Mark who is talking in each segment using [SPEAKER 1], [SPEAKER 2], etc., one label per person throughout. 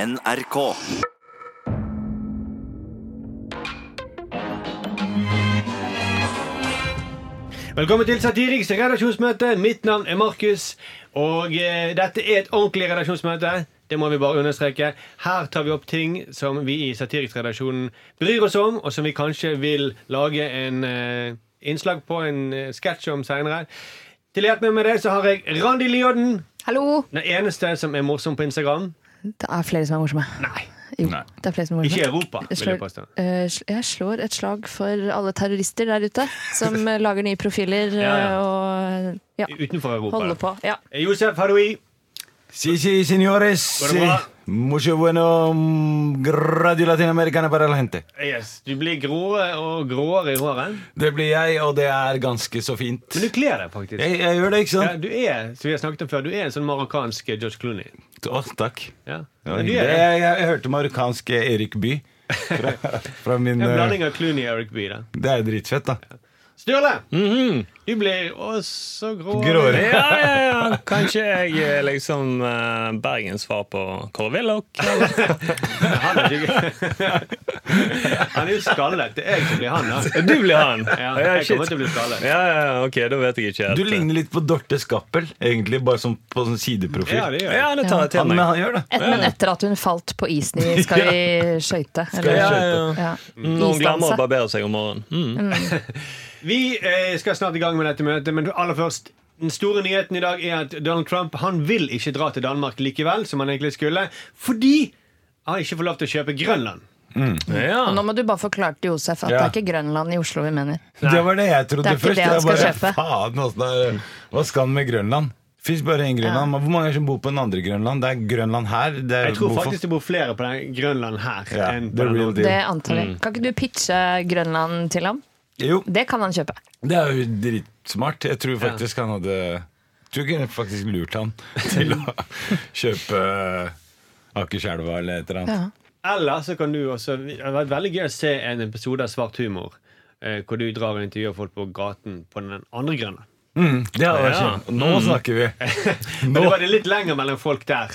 [SPEAKER 1] NRK.
[SPEAKER 2] Velkommen til Satiriks redaksjonsmøte. Mitt navn er Markus. Og eh, dette er et ordentlig redaksjonsmøte. Det må vi bare understreke. Her tar vi opp ting som vi i Satiriksredaksjonen bryr oss om, og som vi kanskje vil lage en eh, innslag på, en eh, sketsj om seinere. Til å hjelpe meg med det så har jeg Randi Lioden.
[SPEAKER 3] Hallo!
[SPEAKER 2] Den eneste som er morsom på Instagram.
[SPEAKER 3] Det er flere som er morsomme.
[SPEAKER 2] Nei.
[SPEAKER 3] Jo,
[SPEAKER 4] Nei.
[SPEAKER 3] det er flere som er
[SPEAKER 2] Ikke i
[SPEAKER 3] morsomme.
[SPEAKER 2] Europa,
[SPEAKER 3] Jeg
[SPEAKER 2] vil
[SPEAKER 3] slår,
[SPEAKER 2] jeg påstå.
[SPEAKER 3] eh, sl- jeg slår et slag for alle terrorister der ute som eh, lager nye profiler eh,
[SPEAKER 2] Ja, ja.
[SPEAKER 3] og eh, ja,
[SPEAKER 2] Utenfor Europa. Eh,
[SPEAKER 3] holder på. Ja.
[SPEAKER 2] Josef Haroui.
[SPEAKER 4] Sí, sí, señores.
[SPEAKER 2] Går det bra?
[SPEAKER 4] Mucho bueno mm, radio latinamericana para la gente.
[SPEAKER 2] Yes. Du blir gråere og gråere i håret.
[SPEAKER 4] Det blir jeg, og det er ganske så fint.
[SPEAKER 2] Men du kler deg faktisk.
[SPEAKER 4] Jeg, jeg gjør det, ikke
[SPEAKER 2] Ja,
[SPEAKER 4] sant?
[SPEAKER 2] du er som vi har snakket om før, du er en sånn marokkansk George Clooney.
[SPEAKER 4] Å, takk.
[SPEAKER 2] Ja.
[SPEAKER 4] Det var
[SPEAKER 2] du
[SPEAKER 4] hyggelig.
[SPEAKER 2] er
[SPEAKER 4] jeg,
[SPEAKER 2] en
[SPEAKER 4] jeg, jeg hørte marokkansk Erik By. Fra, fra min
[SPEAKER 2] en
[SPEAKER 4] eh,
[SPEAKER 2] blanding av Clooney og Eric Bye. da.
[SPEAKER 4] Det er jo dritfett, da.
[SPEAKER 2] Sturle! Du blir også grå.
[SPEAKER 4] Gråere.
[SPEAKER 5] Ja, ja, ja. Kanskje jeg er liksom eh, Bergens svar på Kåre Willoch.
[SPEAKER 2] Han er, ikke- han er jo skallet. Det er jeg som blir han, da.
[SPEAKER 5] Du blir han!
[SPEAKER 2] Ja,
[SPEAKER 5] Ja,
[SPEAKER 2] jeg
[SPEAKER 5] shit.
[SPEAKER 2] kommer til å bli skallet.
[SPEAKER 5] Ja, ja, ja, ok, da vet jeg ikke. helt.
[SPEAKER 4] Du ligner litt på Dorte Skappel, egentlig, bare sånn på sånn sideprofil.
[SPEAKER 2] Ja, det gjør jeg.
[SPEAKER 5] eh. Ja, det tar jeg til
[SPEAKER 4] han, men
[SPEAKER 5] meg.
[SPEAKER 4] han gjør det.
[SPEAKER 3] Et, men etter at hun falt på isen i Skal vi skøyte?
[SPEAKER 4] vi
[SPEAKER 5] Ja,
[SPEAKER 3] eller-
[SPEAKER 5] ja, ja.
[SPEAKER 3] Ja.
[SPEAKER 2] Mm.
[SPEAKER 5] Når hun glemmer å
[SPEAKER 3] Isdanse.
[SPEAKER 5] barbere seg om morgenen. Mm.
[SPEAKER 2] Vi eh, skal snart i gang med dette møtet, men aller først den store nyheten i dag er at Donald Trump han vil ikke dra til Danmark likevel, som han egentlig skulle, fordi han ikke får lov til å kjøpe Grønland.
[SPEAKER 3] Og Nå
[SPEAKER 5] Ja.
[SPEAKER 3] må du bare forklare til Josef at det
[SPEAKER 4] Ja.
[SPEAKER 3] er ikke Grønland i Oslo vi mener.
[SPEAKER 4] Det var det jeg trodde
[SPEAKER 3] Det er ikke
[SPEAKER 4] først.
[SPEAKER 3] det han
[SPEAKER 4] Jeg
[SPEAKER 3] skal
[SPEAKER 4] bare,
[SPEAKER 3] kjøpe.
[SPEAKER 4] Faen, åssen er, hva skal han med Grønland? Fins bare én Grønland. men Hvor mange er det som bor på den andre Grønland? Det er Grønland her. Det er
[SPEAKER 2] Jeg tror
[SPEAKER 4] hvorfor-
[SPEAKER 2] faktisk det bor flere på den Grønland her
[SPEAKER 4] Ja,
[SPEAKER 2] enn på
[SPEAKER 4] the
[SPEAKER 2] den
[SPEAKER 4] real
[SPEAKER 2] andre.
[SPEAKER 4] deal.
[SPEAKER 3] Det antar
[SPEAKER 2] Mm.
[SPEAKER 3] jeg. Kan ikke du pitche Grønland til ham?
[SPEAKER 4] Jo,
[SPEAKER 3] Det kan han kjøpe.
[SPEAKER 4] det er jo dritsmart. Jeg tror faktisk han hadde Jeg tror ikke jeg faktisk lurt han til å kjøpe Akerselva eller et eller annet.
[SPEAKER 3] Ja.
[SPEAKER 2] Eller så kan du også Det hadde vært veldig gøy å se en episode av Svart humor. eh, Hvor du drar og intervjuer folk på gaten på den andre grønne.
[SPEAKER 4] Mm, det hadde vært
[SPEAKER 5] Ja.
[SPEAKER 4] kjent. Nå
[SPEAKER 2] Mm.
[SPEAKER 4] snakker vi!
[SPEAKER 2] Men det
[SPEAKER 4] Nå.
[SPEAKER 2] var det litt lenger mellom folk der.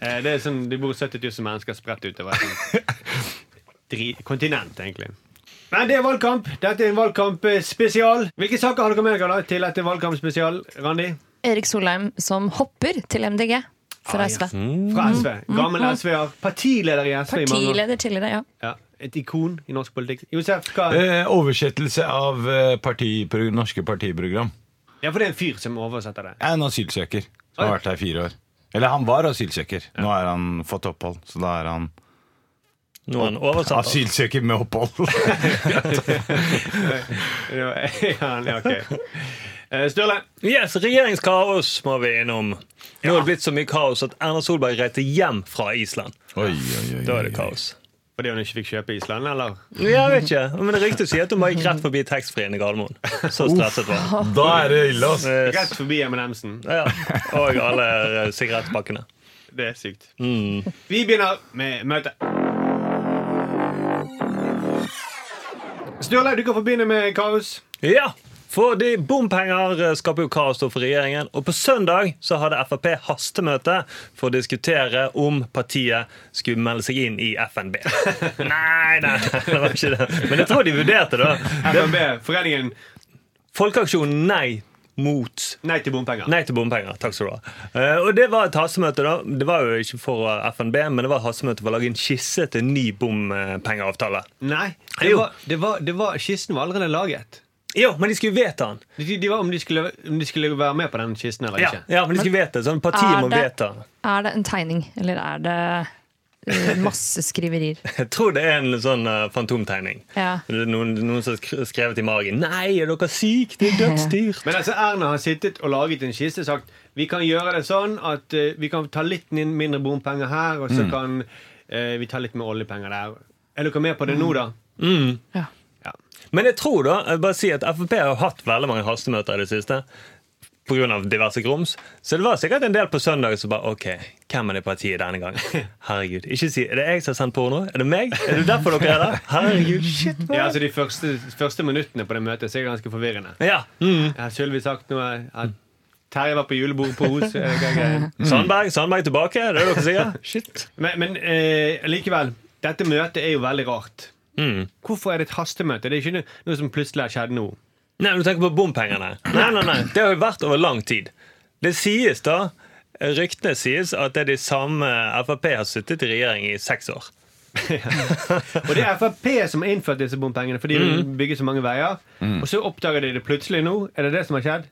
[SPEAKER 2] Eh, Det er sånn, Det bor 70 000 mennesker spredt utover et dri- kontinent, egentlig. Men det er valgkamp. Dette er en valgkampspesial. Hvilke saker har dere med dere da til dette valgkampspesial, Randi?
[SPEAKER 3] Erik Solheim som hopper til MDG
[SPEAKER 2] Ah,
[SPEAKER 3] fra
[SPEAKER 2] ja.
[SPEAKER 3] SV.
[SPEAKER 2] Fra
[SPEAKER 4] Mm.
[SPEAKER 2] SV. Gammel SV-er. Partileder i SV i mange år.
[SPEAKER 3] Partileder tidligere, ja.
[SPEAKER 2] Ja, et ikon i norsk politikk. Josef, hva?
[SPEAKER 4] Eh, oversettelse av eh, partipro norske partiprogram.
[SPEAKER 2] Ja, for det er en fyr som oversetter det.
[SPEAKER 4] Jeg er en asylsøker som har
[SPEAKER 2] Oi.
[SPEAKER 4] vært her i fire år. Eller han var asylsøker. Nå har han fått opphold, så da er han
[SPEAKER 5] Nå er han oversatt.
[SPEAKER 4] asylsøker med opphold.
[SPEAKER 2] Ja, ja, ok. Eh, Sturle.
[SPEAKER 5] Yes, regjeringskaos må vi innom. Nå er det blitt så mye kaos at Erna Solberg reiste hjem fra Island.
[SPEAKER 4] oi, oi, oi,
[SPEAKER 5] Da er det kaos.
[SPEAKER 2] Fordi hun ikke fikk kjøpe Island, eller?
[SPEAKER 5] Jeg vet ikke, men det ryktet sier at hun bare gikk rett forbi taxfree-en i Gardermoen. Så stresset var hun.
[SPEAKER 4] Da er det ille, ass.
[SPEAKER 5] Eh,
[SPEAKER 2] Rett forbi M&M'sen.
[SPEAKER 5] Ja. Og alle eh, sigarettpakkene.
[SPEAKER 2] Det er sykt. Vi begynner med møtet. Sturle, du kan få begynne med kaos.
[SPEAKER 5] Ja, fordi bompenger eh, skaper jo kaos da for regjeringen. Og på søndag så hadde Frp hastemøte for å diskutere om partiet skulle melde seg inn i FNB. Nei, nei, det var ikke det. Men jeg tror de vurderte det. da.
[SPEAKER 2] FNB, Foreningen
[SPEAKER 5] Folkeaksjonen Nei mot
[SPEAKER 2] Nei til bompenger.
[SPEAKER 5] Nei til bompenger. Takk skal du ha. Eh, og det var et hastemøte, da. Det var jo ikke for eh, FNB, men det var et hastemøte for å lage en skisse til en ny bompengeavtale.
[SPEAKER 2] Nei, Det
[SPEAKER 5] Jo.
[SPEAKER 2] var, det var, det var, Kisten var allerede laget.
[SPEAKER 5] Jo, men de skulle vedta den.
[SPEAKER 2] De, de var om de, skulle, om de skulle være med på den kisten eller
[SPEAKER 5] Ja,
[SPEAKER 2] ikke.
[SPEAKER 5] ja men de skulle vedta den, Sånn partiet må
[SPEAKER 3] Er det-
[SPEAKER 5] vedta.
[SPEAKER 3] Er det en tegning, eller er det eh, masse skriverier?
[SPEAKER 5] Jeg tror det er en sånn eh, fantomtegning.
[SPEAKER 3] Ja.
[SPEAKER 5] Det er Noen, noen som har skre- skrevet i magen 'Nei, er dere syke? Det er dødsdyrt'.
[SPEAKER 2] Men altså, Erna har sittet og laget en kiste og sagt vi kan gjøre det sånn at eh, vi kan ta litt min- mindre bompenger her,
[SPEAKER 5] Mm.
[SPEAKER 2] og så kan eh, vi ta litt mer oljepenger der. Er dere med på det nå, da?
[SPEAKER 3] Ja.
[SPEAKER 2] Ja.
[SPEAKER 5] Men jeg tror da, jeg vil bare si at Frp har hatt veldig mange hastemøter i det siste. Pga. diverse grums. Så det var sikkert en del på søndag som bare OK, hvem er det partiet denne gangen? Herregud. Ikke si Er det jeg som har sendt porno? Er det meg? Er det derfor dere er der? Herregud, shit. man.
[SPEAKER 2] Ja, altså De første, første minuttene på det møtet så er det ganske forvirrende.
[SPEAKER 5] Ja. Mm.
[SPEAKER 2] Jeg har Sylvi sagt noe at Terje var på julebord på Os. eh, hva greier.
[SPEAKER 5] Sandberg, Sandberg tilbake, det er det dere sier? Shit.
[SPEAKER 2] Men, men eh, likevel, dette møtet er jo veldig rart.
[SPEAKER 5] Mm.
[SPEAKER 2] Hvorfor er det et hastemøte? Det er ikke noe- noe som plutselig har skjedd nå.
[SPEAKER 5] Nei, men du tenker på bompengene. Nei, nei, nei, Det har jo vært over lang tid. Det sies da, ryktene sies, at det er de samme Frp har sittet i regjering i seks år.
[SPEAKER 2] Og det er Frp som har innført disse bompengene, for de vil bygge så mange veier. Og så oppdager de det plutselig nå. Er det det som har skjedd?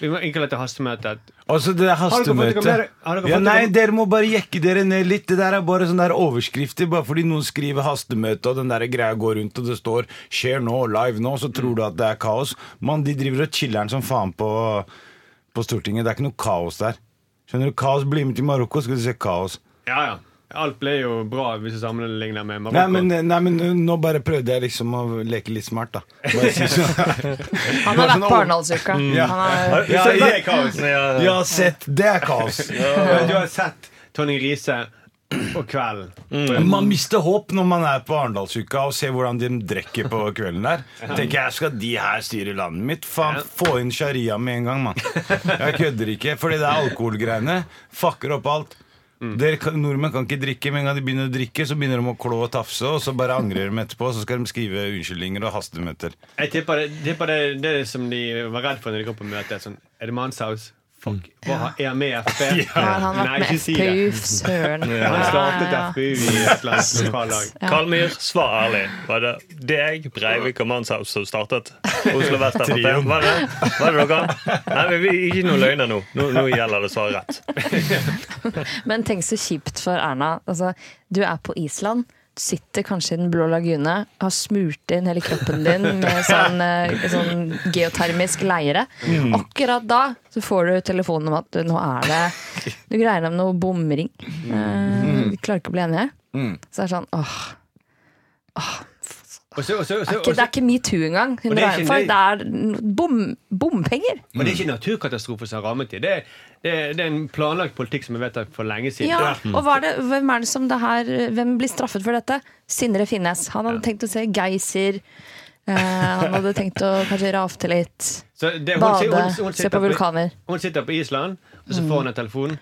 [SPEAKER 2] Vi må innkalle til hastemøte.
[SPEAKER 4] Altså det der
[SPEAKER 2] dere fått det
[SPEAKER 4] hastemøtet
[SPEAKER 2] gamle- har dere fått
[SPEAKER 4] ja,
[SPEAKER 2] det
[SPEAKER 4] Nei,
[SPEAKER 2] gamle-
[SPEAKER 4] dere må bare jekke dere ned litt. Det der er bare sånne der overskrifter. Bare fordi noen skriver 'hastemøte', og den der greia går rundt, og det står 'skjer nå, live nå', så tror du at det er kaos. Mann, de driver og chiller'n som faen på, på Stortinget. Det er ikke noe kaos der. Skjønner du, Kaos blir med til Marokko, skal du se kaos.
[SPEAKER 2] Ja, ja. Alt ble jo bra hvis du sammenligner med Marokko.
[SPEAKER 4] Nei men, eh, nei, men nå bare prøvde jeg liksom å leke litt smart, da. Bare si sånn.
[SPEAKER 3] Han har vært på Arendalsuka.
[SPEAKER 4] Ja.
[SPEAKER 2] Mm.
[SPEAKER 3] Han har-
[SPEAKER 2] ja,
[SPEAKER 4] Så-
[SPEAKER 2] det er kaos.
[SPEAKER 5] Ja,
[SPEAKER 4] Ja, sett. Det er kaos.
[SPEAKER 2] Men Du har sett Tonje Riise og Kvelden.
[SPEAKER 4] Man mister håp når man er på Arendalsuka og ser hvordan de drikker på kvelden der. Tenker jeg, skal de her styre landet mitt? Faen, få inn sharia med en gang, mann. Jeg kødder ikke, fordi det er alkoholgreiene. Fucker opp alt. Dere kan, nordmenn kan ikke drikke. Med en gang de begynner å drikke, så begynner de å klå og tafse, og så bare angrer de etterpå, og så skal de skrive unnskyldninger og hastemøter.
[SPEAKER 2] Jeg tipper det, tipper det, det er som de var redd for når de kom på møtet. Sånn, er det Manshaus? Fuck. Hva har jeg med FP?
[SPEAKER 3] Har han vært
[SPEAKER 2] Nei,
[SPEAKER 3] med
[SPEAKER 2] ikke si det.
[SPEAKER 3] FPU? Søren.
[SPEAKER 2] Han startet
[SPEAKER 3] Ja, ja,
[SPEAKER 2] FPU i et eller annet lokallag.
[SPEAKER 5] Kalmyr, svar ærlig. Var det deg, Breivik og Manshaus som startet Oslo Vest Frp?
[SPEAKER 4] Trioen.
[SPEAKER 5] Var det, var det dere? Nei, men vi, ikke noe løgner nå. nå. Nå gjelder det å svare rett.
[SPEAKER 3] ja. Men tenk så kjipt for Erna. Altså, du er på Island. Du sitter kanskje i Den blå lagune, har smurt inn hele kroppen din med sånn, eh, sånn geotermisk leire.
[SPEAKER 2] Mm.
[SPEAKER 3] Akkurat da så får du telefonen om at du, nå er det Du greier om noe bomring.
[SPEAKER 2] Mm.
[SPEAKER 3] Eh, vi klarer ikke å bli enige. Så er det sånn åh.
[SPEAKER 2] Og så- og så- og
[SPEAKER 3] Det
[SPEAKER 2] så-
[SPEAKER 3] er
[SPEAKER 2] og
[SPEAKER 3] ikke, det
[SPEAKER 2] så-
[SPEAKER 3] er ikke metoo engang. Hun
[SPEAKER 2] Og det er ikke
[SPEAKER 3] regner for
[SPEAKER 2] nøy-
[SPEAKER 3] det er n- bom, bompenger.
[SPEAKER 2] Men det er ikke naturkatastrofer som har rammet dem. Det, er- det, er- det er en planlagt politikk som er vedtatt for lenge siden.
[SPEAKER 3] Ja, og hva er det, hvem er det som det her Hvem blir straffet for dette? Sindre Finnes. Han hadde tenkt å se Geysir. Eh, han hadde tenkt å kanskje rafte litt.
[SPEAKER 2] Så det- hun
[SPEAKER 3] Bade.
[SPEAKER 2] sier- hun- hun
[SPEAKER 3] se
[SPEAKER 2] sitter
[SPEAKER 3] på Mm. vulkaner.
[SPEAKER 2] Hun sitter på Island, og så får hun en telefon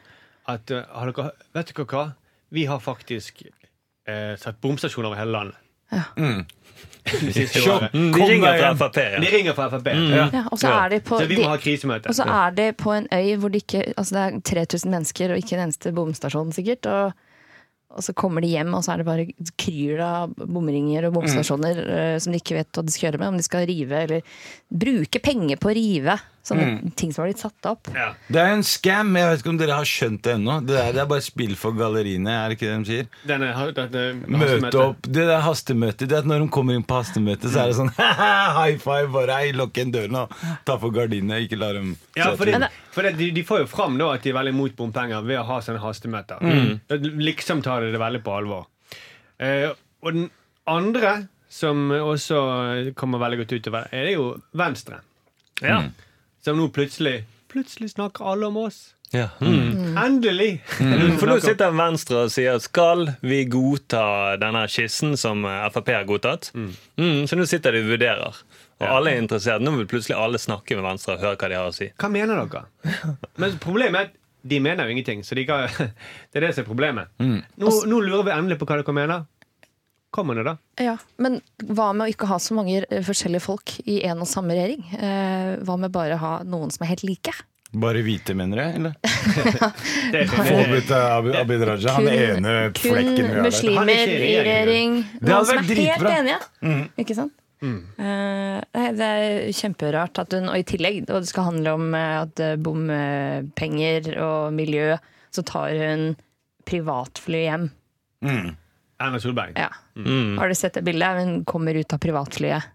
[SPEAKER 2] at eh, har dere, Vet dere hva? Vi har faktisk eh, satt bomstasjoner over hele landet. Det siste året.
[SPEAKER 5] De ringer til Frp.
[SPEAKER 2] De
[SPEAKER 5] Ja.
[SPEAKER 2] ringer fra Frp.
[SPEAKER 3] Ja, og så
[SPEAKER 5] Ja.
[SPEAKER 3] er de på
[SPEAKER 2] Så vi
[SPEAKER 3] de,
[SPEAKER 2] må ha krisemøte.
[SPEAKER 3] og så er de på en øy hvor det ikke Altså det er 3000 mennesker og ikke en eneste bomstasjon, sikkert. Og, og så kommer de hjem, og så er det bare kryr av
[SPEAKER 2] Mm.
[SPEAKER 3] bomringer og bomstasjoner eh, som de ikke vet hva de skal gjøre med. Om de skal rive eller bruke penger på å rive sånne
[SPEAKER 2] Mm.
[SPEAKER 3] ting som har blitt satt opp.
[SPEAKER 2] Ja.
[SPEAKER 4] Det er en scam. Jeg vet ikke om dere har skjønt det ennå. Det, der- det er bare spill for galleriene, er det ikke det de sier?
[SPEAKER 2] Denne, denne,
[SPEAKER 4] Møte opp. Det der hastemøtet. Det er at Når de kommer inn på hastemøtet, så er det sånn high five. Bare hei, lukk igjen døren og ta for gardinene. Ikke la dem
[SPEAKER 2] Ja,
[SPEAKER 4] se
[SPEAKER 2] for,
[SPEAKER 4] til.
[SPEAKER 2] det, for det, de, de får jo fram da at de er veldig imot bompenger ved å ha sånne hastemøter.
[SPEAKER 5] Mm.
[SPEAKER 2] Liksom tar de det veldig på alvor. Eh, og den andre som også kommer veldig godt utover, er det jo Venstre.
[SPEAKER 5] Ja.
[SPEAKER 2] Som nå plutselig Plutselig snakker alle om oss.
[SPEAKER 5] Ja. Mm.
[SPEAKER 2] Endelig!
[SPEAKER 5] For nå sitter Venstre og sier skal vi godta denne skissen som eh, Frp har godtatt? Mm, så nå sitter de og vurderer. Og alle er interessert. Nå vil plutselig alle snakke med Venstre og høre hva de har å si.
[SPEAKER 2] Hva mener dere? Men problemet er at de mener jo ingenting. Så de kan, det er det som er problemet.
[SPEAKER 5] Mm.
[SPEAKER 2] Nå, nå lurer vi endelig på hva dere mener. Kommer det, da?
[SPEAKER 3] Ja, Men hva med å ikke ha så mange eh, forskjellige folk i en og samme regjering? Eh, hva med bare å ha noen som er helt like?
[SPEAKER 4] Bare hvite, mener jeg? Eller?
[SPEAKER 2] Det er
[SPEAKER 4] Få ut Abid, Abid Raja. Han ene
[SPEAKER 3] kun
[SPEAKER 4] flekken
[SPEAKER 2] Han
[SPEAKER 4] vi har der.
[SPEAKER 2] er ikke
[SPEAKER 3] muslimer
[SPEAKER 2] i
[SPEAKER 3] i regjering.
[SPEAKER 4] Det hadde
[SPEAKER 3] Noen som
[SPEAKER 4] vært
[SPEAKER 3] er helt
[SPEAKER 4] dritbra. Mm.
[SPEAKER 3] enige. Ikke sant? Eh, nei, det er kjemperart at hun Og i tillegg, og det skal handle om eh, at eh, bompenger og miljø, så tar hun privatfly hjem.
[SPEAKER 2] Erna Solberg.
[SPEAKER 3] Ja.
[SPEAKER 2] Mm.
[SPEAKER 3] Har du sett det bildet? Hun kommer ut av privatflyet.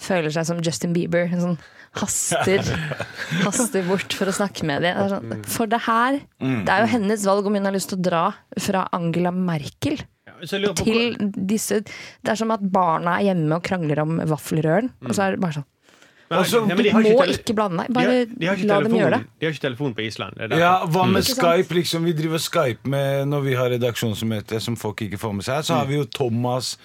[SPEAKER 3] Føler seg som Justin Bieber. Hun sånn haster, haster bort for å snakke med dem. Det er sånn,
[SPEAKER 2] Mm.
[SPEAKER 3] for det her Det er jo hennes valg om hun har lyst til å dra fra Angela Merkel
[SPEAKER 2] Så jeg lurer på
[SPEAKER 3] til disse Det er som at barna er hjemme og krangler om vaffelrøren, og så er det bare sånn
[SPEAKER 2] Men-
[SPEAKER 4] Også-
[SPEAKER 2] Nei, men de har
[SPEAKER 3] Må
[SPEAKER 2] ikke tele-
[SPEAKER 3] ikke blande deg.
[SPEAKER 2] de har-
[SPEAKER 3] Bare
[SPEAKER 2] de har ikke
[SPEAKER 3] la dem
[SPEAKER 2] telefon-
[SPEAKER 3] gjøre det.
[SPEAKER 2] De har ikke telefon på Island. Det er derfor.
[SPEAKER 4] Ja, Hva med
[SPEAKER 3] Ikke sant?
[SPEAKER 4] Skype? liksom Mm. Vi driver Skype med når vi har redaksjonsmøte som folk ikke får med seg. Så har vi jo Thomas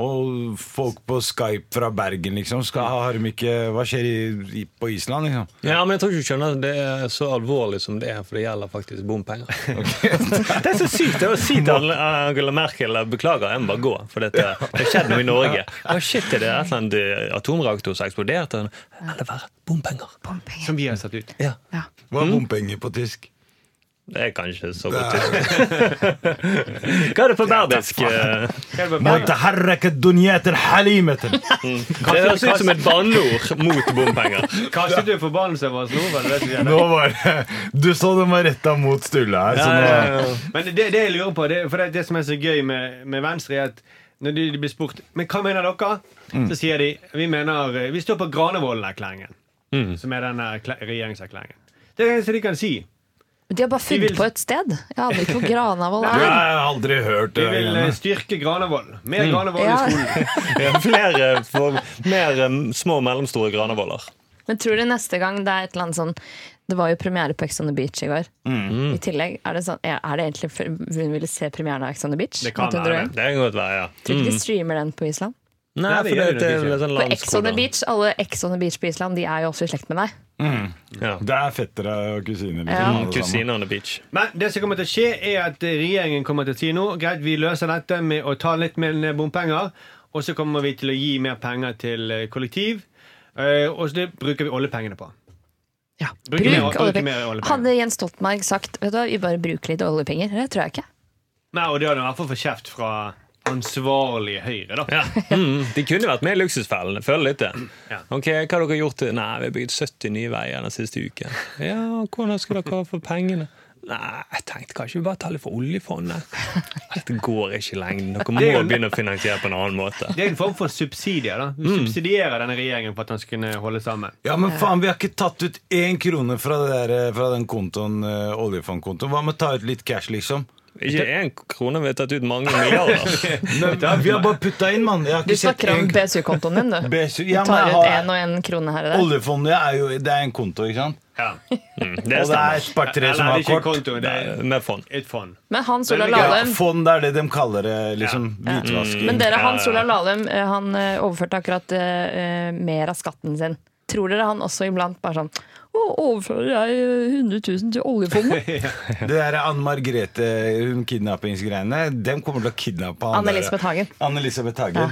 [SPEAKER 4] Og folk på Skype fra Bergen, liksom. Skal, har de ikke, hva skjer i, i, på Island, liksom?
[SPEAKER 5] Ja, men jeg tror ikke du skjønner at det er så alvorlig som det er, for det gjelder faktisk bompenger. det er så sykt det er å si til Angela- Angela Merkel beklager, jeg må bare gå, for dette det har skjedd noe i Norge. Å shit, er det et eller annet eh, atomreaktor som har eksplodert? Og det var bompenger.
[SPEAKER 2] Som vi har satt ut.
[SPEAKER 5] Ja,
[SPEAKER 3] Ja.
[SPEAKER 4] Hva er bompenger på tysk?
[SPEAKER 5] det er kanskje så godt. Hva er det på berdisk? Det
[SPEAKER 2] Hva er det med-
[SPEAKER 4] متحرك الدنيا حليمة
[SPEAKER 5] høres ut som et banneord mot bompenger.
[SPEAKER 2] Kastet du forbannelse over oss nå? var det det som skjedde?
[SPEAKER 4] Nå var det Du så den var retta mot Sturle her. Så
[SPEAKER 5] Ja, ja,
[SPEAKER 4] nå,
[SPEAKER 5] ja.
[SPEAKER 2] Men det, det jeg lurer på, det, for det, er det som er så gøy med, med Venstre, er at når de, blir spurt Men hva mener dere,
[SPEAKER 4] Mm.
[SPEAKER 2] så sier de vi mener eh, Vi står på Granevolden-erklæringen,
[SPEAKER 4] Mm.
[SPEAKER 2] som er denne erklæ- regjeringserklæringen. Det er det eneste de kan si.
[SPEAKER 3] Men De har bare funnet
[SPEAKER 2] vil-
[SPEAKER 3] på et sted. Jeg aner ikke hvor Granavoll
[SPEAKER 4] jeg
[SPEAKER 3] er.
[SPEAKER 4] har aldri hørt
[SPEAKER 2] Vi
[SPEAKER 4] det.
[SPEAKER 2] vil eh,
[SPEAKER 4] igjen.
[SPEAKER 2] styrke Granevolden. Mer
[SPEAKER 4] Mm.
[SPEAKER 2] Granevoll
[SPEAKER 3] Ja.
[SPEAKER 2] i skolen.
[SPEAKER 5] Ja, Flere, for, mer eh, små og mellomstore granevoller.
[SPEAKER 3] Men tror du neste gang det er et eller annet sånn Det var jo premiere på Ex on the Beach i går.
[SPEAKER 2] Mm.
[SPEAKER 3] I tillegg, er det, sånn, er er det egentlig for hun ville se premieren av Ex on the Beach?
[SPEAKER 2] Det kan
[SPEAKER 3] At hun
[SPEAKER 2] være
[SPEAKER 3] dro
[SPEAKER 2] det.
[SPEAKER 3] hjem?
[SPEAKER 5] Det kan godt være, ja.
[SPEAKER 3] Tror ikke de streamer den på Island?
[SPEAKER 5] Nei,
[SPEAKER 2] Nei, det
[SPEAKER 5] for det,
[SPEAKER 2] gjør det nok
[SPEAKER 5] det
[SPEAKER 2] ikke.
[SPEAKER 5] er sånn
[SPEAKER 3] For Ex on the
[SPEAKER 5] landskole.
[SPEAKER 3] Beach, alle Ex on the Beach på Island, de er jo også i slekt med deg.
[SPEAKER 5] Ja.
[SPEAKER 4] Det er fettere og kusiner. Liksom,
[SPEAKER 3] Ja.
[SPEAKER 4] alle sammen.
[SPEAKER 5] Kusine on the beach.
[SPEAKER 2] Men det som kommer til å skje, er at eh, regjeringen kommer til å si nå greit, vi løser dette med å ta litt mer ned bompenger, og så kommer vi til å gi mer penger til eh, kollektiv. eh, Og så det bruker vi oljepengene på.
[SPEAKER 3] Ja.
[SPEAKER 2] Bruker mer- bruker mer oljepenger.
[SPEAKER 3] Hadde Jens Stoltenberg sagt Vet du hva, vi bare bruker litt oljepenger? Det tror jeg ikke.
[SPEAKER 2] Nei, og det hadde i hvert fall fått kjeft fra ansvarlige Høyre, da.
[SPEAKER 5] Ja. Mm, de kunne vært med i Luksusfellen. Føler litt det.
[SPEAKER 2] Ja.
[SPEAKER 5] Ok, Hva har dere gjort? til- Nei, vi har bygd 70 nye veier den siste uken. Ja, Hvordan skulle dere ha for pengene? Nei, jeg tenkte kanskje vi bare tar litt fra oljefondet. Dette går ikke i lengden. Dere
[SPEAKER 2] Det er jo-
[SPEAKER 5] må begynne å finansiere på en annen måte.
[SPEAKER 2] Det er en form for subsidier. da Du
[SPEAKER 4] Mm.
[SPEAKER 2] subsidierer denne regjeringen for at den skal kunne holde sammen.
[SPEAKER 4] Ja, men faen, vi har ikke tatt ut én krone fra, det der, fra den kontoen, eh, oljefondkontoen. Hva med å ta ut litt cash, liksom?
[SPEAKER 5] Ikke én krone, vi har tatt ut mange milliarder.
[SPEAKER 4] Nei, vi har bare putta inn, mann. Jeg har
[SPEAKER 3] Du
[SPEAKER 4] ikke sett
[SPEAKER 3] snakker om
[SPEAKER 4] en-
[SPEAKER 3] BSU-kontoen din, du. Du
[SPEAKER 4] BSU, ja, men
[SPEAKER 3] tar ut
[SPEAKER 4] jeg har-
[SPEAKER 3] én og én krone her og der.
[SPEAKER 4] Oljefondet er jo det er en konto, ikke sant?
[SPEAKER 2] Ja.
[SPEAKER 5] Mm,
[SPEAKER 4] Og
[SPEAKER 5] det
[SPEAKER 4] det er
[SPEAKER 5] stemmer.
[SPEAKER 4] Spar3 som
[SPEAKER 2] Eller,
[SPEAKER 4] har
[SPEAKER 2] det er ikke
[SPEAKER 4] kort.
[SPEAKER 2] konto, det er
[SPEAKER 5] Med fond.
[SPEAKER 2] et fond.
[SPEAKER 3] Men Hans Olav
[SPEAKER 2] Veldig gøy.
[SPEAKER 4] Ja,
[SPEAKER 3] Lahlum
[SPEAKER 4] fond det er det de kaller det. liksom
[SPEAKER 3] Ja.
[SPEAKER 4] Hvitvasking.
[SPEAKER 3] Men dere,
[SPEAKER 5] Ja,
[SPEAKER 3] Hans
[SPEAKER 5] ja, ja.
[SPEAKER 3] Olav Lahlum eh, han eh, overførte akkurat eh, eh, mer av skatten sin. Tror dere han også iblant bare sånn Å, overfører jeg eh, 100 000 til oljefondet?
[SPEAKER 4] Det der er Anne Margrethe, hun kidnappingsgreiene. Dem kommer til å kidnappe han
[SPEAKER 3] Anne
[SPEAKER 4] der.
[SPEAKER 3] Elisabeth Hagen.
[SPEAKER 4] Anne Elisabeth Hagen.
[SPEAKER 3] Ja.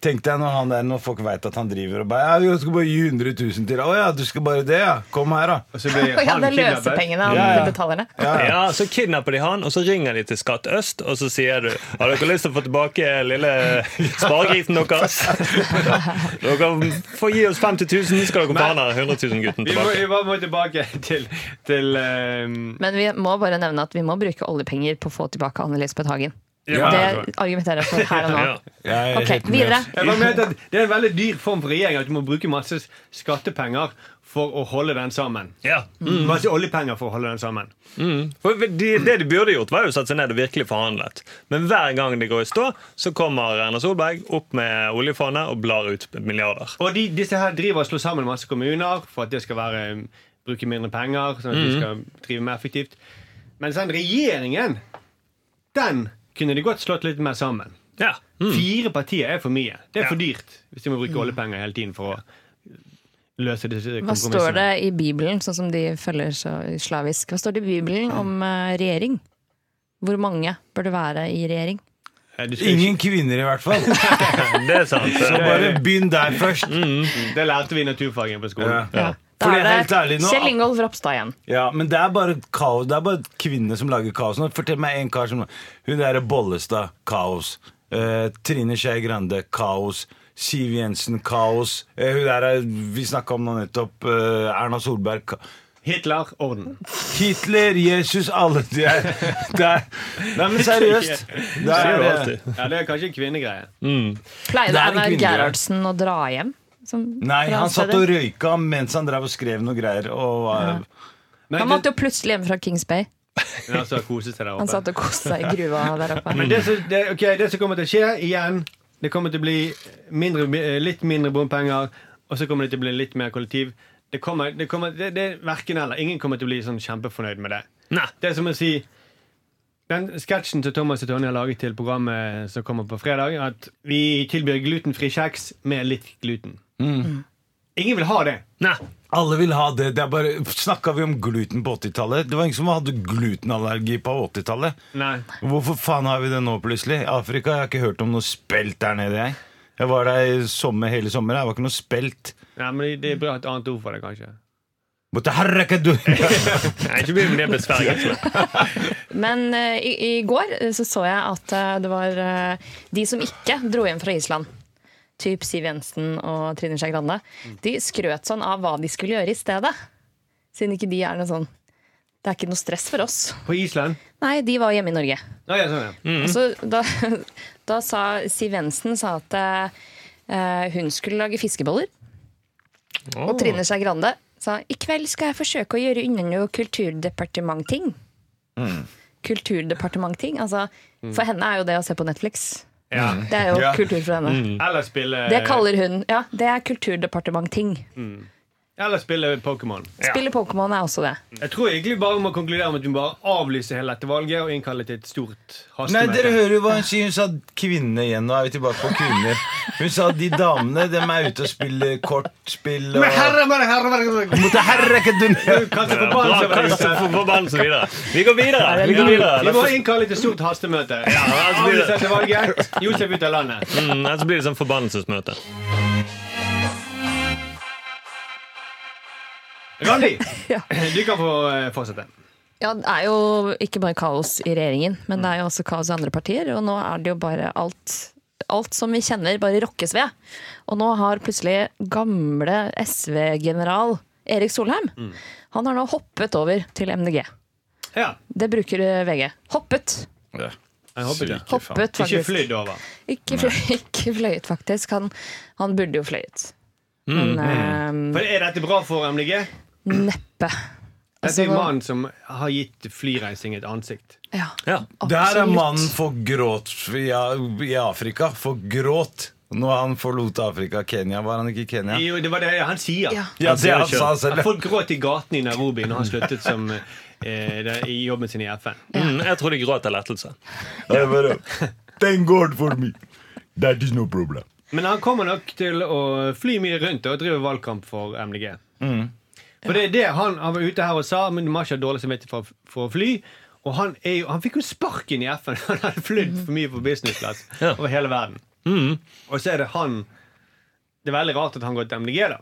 [SPEAKER 4] Tenk deg når han der, når folk veit at han driver og bare ja, 'Jeg skal bare gi 100 000 til.' 'Å ja, du skal bare det, ja? Kom her, da.'
[SPEAKER 2] Og så blir
[SPEAKER 3] ja,
[SPEAKER 2] han
[SPEAKER 3] det er
[SPEAKER 2] kidnappet.
[SPEAKER 3] løsepengene han
[SPEAKER 4] Ja, ja.
[SPEAKER 3] betaler ned.
[SPEAKER 4] Ja, ja.
[SPEAKER 5] Ja, Så kidnapper de han, og så ringer de til Skatt Øst, og så sier du Har dere lyst til å få tilbake eh, lille sparegrisen deres? Dere får gi oss 50 000, så skal dere få han her 100 000-gutten
[SPEAKER 2] Vi må,
[SPEAKER 5] tilbake.
[SPEAKER 2] vi bare må tilbake til, til ehm,
[SPEAKER 3] Men vi må bare nevne at vi må bruke oljepenger på å få tilbake Anne Elisabeth Hagen.
[SPEAKER 2] Ja.
[SPEAKER 3] Det argumenterer jeg for her og nå.
[SPEAKER 5] Ja.
[SPEAKER 4] Jeg er
[SPEAKER 3] Ok,
[SPEAKER 4] helt med.
[SPEAKER 3] videre.
[SPEAKER 2] jeg bare mente at Det er en veldig dyr form for regjering at du må bruke masse skattepenger for å holde den sammen.
[SPEAKER 5] Ja. Mm.
[SPEAKER 2] Masse oljepenger for å holde den sammen.
[SPEAKER 5] For de, det de burde gjort, var jo å sette seg ned og virkelig forhandlet. Men hver gang det går i stå, så kommer Erna Solberg opp med oljefondet og blar ut milliarder.
[SPEAKER 2] Og de, disse her driver og slår sammen masse kommuner for at det skal være um, bruke mindre penger, sånn at
[SPEAKER 5] Mm.
[SPEAKER 2] de skal drive mer effektivt. Men den regjeringen, den kunne de godt slått litt mer sammen.
[SPEAKER 5] Ja. Mm.
[SPEAKER 2] Fire partier er for mye. Det er
[SPEAKER 5] Ja. Mm.
[SPEAKER 2] for dyrt hvis de må bruke oljepenger hele tiden for å løse disse
[SPEAKER 3] Hva står det
[SPEAKER 2] kompromissene.
[SPEAKER 3] i Bibelen, sånn som de følger så slavisk? Hva står det i Bibelen om eh, regjering? Hvor mange bør det være i regjering?
[SPEAKER 2] Eh, du skal
[SPEAKER 4] Ingen kvinner, i hvert fall.
[SPEAKER 5] Det er sant.
[SPEAKER 4] Så bare begynn der først.
[SPEAKER 5] Mm.
[SPEAKER 2] ikke- Det lærte vi i naturfagen på
[SPEAKER 4] Ja.
[SPEAKER 2] skolen.
[SPEAKER 3] Ja. Da
[SPEAKER 4] Fordi
[SPEAKER 3] er
[SPEAKER 4] helt ærlig
[SPEAKER 3] det
[SPEAKER 4] nå-
[SPEAKER 3] Kjell Ingolf Ropstad igjen.
[SPEAKER 4] Ja, Men det er bare kaos Det er bare kvinnene som lager kaos. Nå Fortell meg en kar som Hun derre Bollestad kaos. Eh, Trine Skei Grande kaos. Siv Jensen kaos. Eh, hun der er- vi snakka om nå nettopp. eh, Erna Solberg ka
[SPEAKER 2] Hitler, orden.
[SPEAKER 4] Hitler, Jesus, alle de er Det er Nei, men seriøst. Det
[SPEAKER 5] Det er jo
[SPEAKER 4] er, eh,
[SPEAKER 5] alltid.
[SPEAKER 2] Ja, Det er kanskje en kvinnegreie.
[SPEAKER 3] Pleide
[SPEAKER 4] Det er en
[SPEAKER 3] Einar
[SPEAKER 4] kvinne,
[SPEAKER 3] Gerhardsen å dra hjem? Som
[SPEAKER 4] nei, han satt og
[SPEAKER 3] landsleder?
[SPEAKER 4] røyka mens han drev og skrev noe greier. Og, var-
[SPEAKER 2] Men
[SPEAKER 3] Han måtte jo plutselig hjem fra Kings Bay.
[SPEAKER 2] det- men altså, kose seg der
[SPEAKER 3] Han
[SPEAKER 2] oppe.
[SPEAKER 3] satt og koste seg i gruva der
[SPEAKER 4] Mm.
[SPEAKER 3] oppe.
[SPEAKER 2] Men det som, det, ok, det som kommer til å skje igjen Det kommer til å bli mindre, eh, litt mindre bompenger, og så kommer det til å bli litt mer kollektiv. Det, kommer, det, kommer, det, det er verken eller. Ingen kommer til å bli sånn kjempefornøyd med det.
[SPEAKER 5] Nei.
[SPEAKER 2] Det er som å si Den sketsjen som Thomas og Tonje har laget til programmet som kommer på fredag, at vi tilbyr glutenfri kjeks med litt gluten.
[SPEAKER 5] Mm.
[SPEAKER 2] Mm. Ingen vil ha det.
[SPEAKER 5] Nei.
[SPEAKER 4] Alle vil ha det. det er bare, snakka vi om gluten på 80-tallet? Det var ingen som hadde glutenallergi på 80-tallet.
[SPEAKER 2] Nei.
[SPEAKER 4] Hvorfor faen har vi det nå plutselig? Afrika, jeg har ikke hørt om noe spelt der nede, jeg. Jeg var der i sommer, hele sommeren. Det var ikke noe spelt.
[SPEAKER 2] Nei, men Det er bra et annet ord for det, kanskje.
[SPEAKER 4] Måtte herreke du
[SPEAKER 5] Nei, ikke begynn med det med Sverige.
[SPEAKER 3] Men eh, i, i går eh, så, så jeg at eh, det var eh, de som ikke dro hjem fra Island, typ Siv Jensen og Trine Skei Grande, de skrøt sånn av hva de skulle gjøre i stedet. Siden ikke de er noe sånn Det er ikke noe stress for oss.
[SPEAKER 2] På Island?
[SPEAKER 3] Nei, de var hjemme i Norge.
[SPEAKER 2] Nå, ja, sånn, ja.
[SPEAKER 3] Og Så Altså, da, da sa Siv Jensen sa at eh, hun skulle lage fiskeboller. Og Trine Skei Grande sa i kveld skal jeg forsøke å gjøre unna noe kulturdepartement-ting. Kulturdepartement-ting. Altså, for henne er jo det å se på Netflix. Mm.
[SPEAKER 2] Ja. Mm.
[SPEAKER 3] Det er jo
[SPEAKER 4] Ja.
[SPEAKER 3] kultur for henne.
[SPEAKER 2] Eller spille
[SPEAKER 3] Det kaller hun Ja, det er kulturdepartement-ting.
[SPEAKER 2] Eller spille Pokémon.
[SPEAKER 3] Spille Pokémon er også det.
[SPEAKER 2] Jeg tror egentlig bare vi må konkludere med at vi må bare avlyse hele dette valget og innkalle til et stort
[SPEAKER 4] Nei,
[SPEAKER 2] hastemøte.
[SPEAKER 4] dere hører jo hva hun sier. Hun sa kvinne igjen. Nå er vi tilbake på kvinner. Hun sa de damene, dem er ute og spiller kortspill og
[SPEAKER 2] Men herre, men herre, men herre.
[SPEAKER 4] Måtte herreke du
[SPEAKER 2] Du kaster forbannelse
[SPEAKER 5] Bra,
[SPEAKER 2] over
[SPEAKER 5] kast
[SPEAKER 2] dette.
[SPEAKER 5] for forbannelsen videre. Vi går videre. Vi går
[SPEAKER 2] Vi
[SPEAKER 5] videre.
[SPEAKER 2] må innkalle til stort hastemøte.
[SPEAKER 5] altså, det-
[SPEAKER 2] Avlyse dette valget. Josef ut av landet.
[SPEAKER 5] Mm, ellers blir det sånn forbannelsesmøte.
[SPEAKER 2] Randi,
[SPEAKER 3] Ja.
[SPEAKER 2] du kan få eh, fortsette.
[SPEAKER 3] Ja, det er jo ikke bare kaos i regjeringen, men det er jo også kaos i andre partier. Og nå er det jo bare alt Alt som vi kjenner, bare rokkes ved. Og nå har plutselig gamle SV-general Erik Solheim
[SPEAKER 2] Mm.
[SPEAKER 3] Han har nå hoppet over til MDG.
[SPEAKER 2] Ja.
[SPEAKER 3] Det bruker eh, VG. Hoppet.
[SPEAKER 2] Jeg håper det.
[SPEAKER 3] Hoppet,
[SPEAKER 2] Ikke
[SPEAKER 3] faktisk.
[SPEAKER 2] flydd over.
[SPEAKER 3] Ikke, fløy, ikke fløyet, faktisk. Han, han burde jo fløyet.
[SPEAKER 2] Mm,
[SPEAKER 3] Men eh,
[SPEAKER 2] For er dette bra for MDG?
[SPEAKER 3] neppe.
[SPEAKER 2] Dette er jo
[SPEAKER 3] Altså,
[SPEAKER 2] mannen som har gitt flyreising et ansikt.
[SPEAKER 3] ja,
[SPEAKER 5] Ja.
[SPEAKER 4] Der er
[SPEAKER 3] absolutt.
[SPEAKER 4] mannen for gråt i i Afrika. For gråt. Når han forlot Afrika. Kenya, var han ikke i Kenya?
[SPEAKER 2] Jo, det var det han sier.
[SPEAKER 3] Ja.
[SPEAKER 4] Ja, det han sa
[SPEAKER 2] At
[SPEAKER 4] selv.
[SPEAKER 2] folk gråt i gatene i Nairobi når han sluttet som, eh, det- i jobben sin i FN.
[SPEAKER 5] Mm, jeg tror de gråt av lettelse.
[SPEAKER 4] Jeg bare, Thank God for me. That is no problem.
[SPEAKER 2] Men han kommer nok til å fly mye rundt og drive valgkamp for MDG. For det er det han, han var ute her og sa, men du må ikke ha dårlig samvittighet for, for å fly. Og han, er jo, han fikk jo sparken i FN! Han hadde flydd for mye på businessclass
[SPEAKER 5] Ja.
[SPEAKER 2] over hele verden. Og så er det han Det er veldig rart at han går til MDG, da.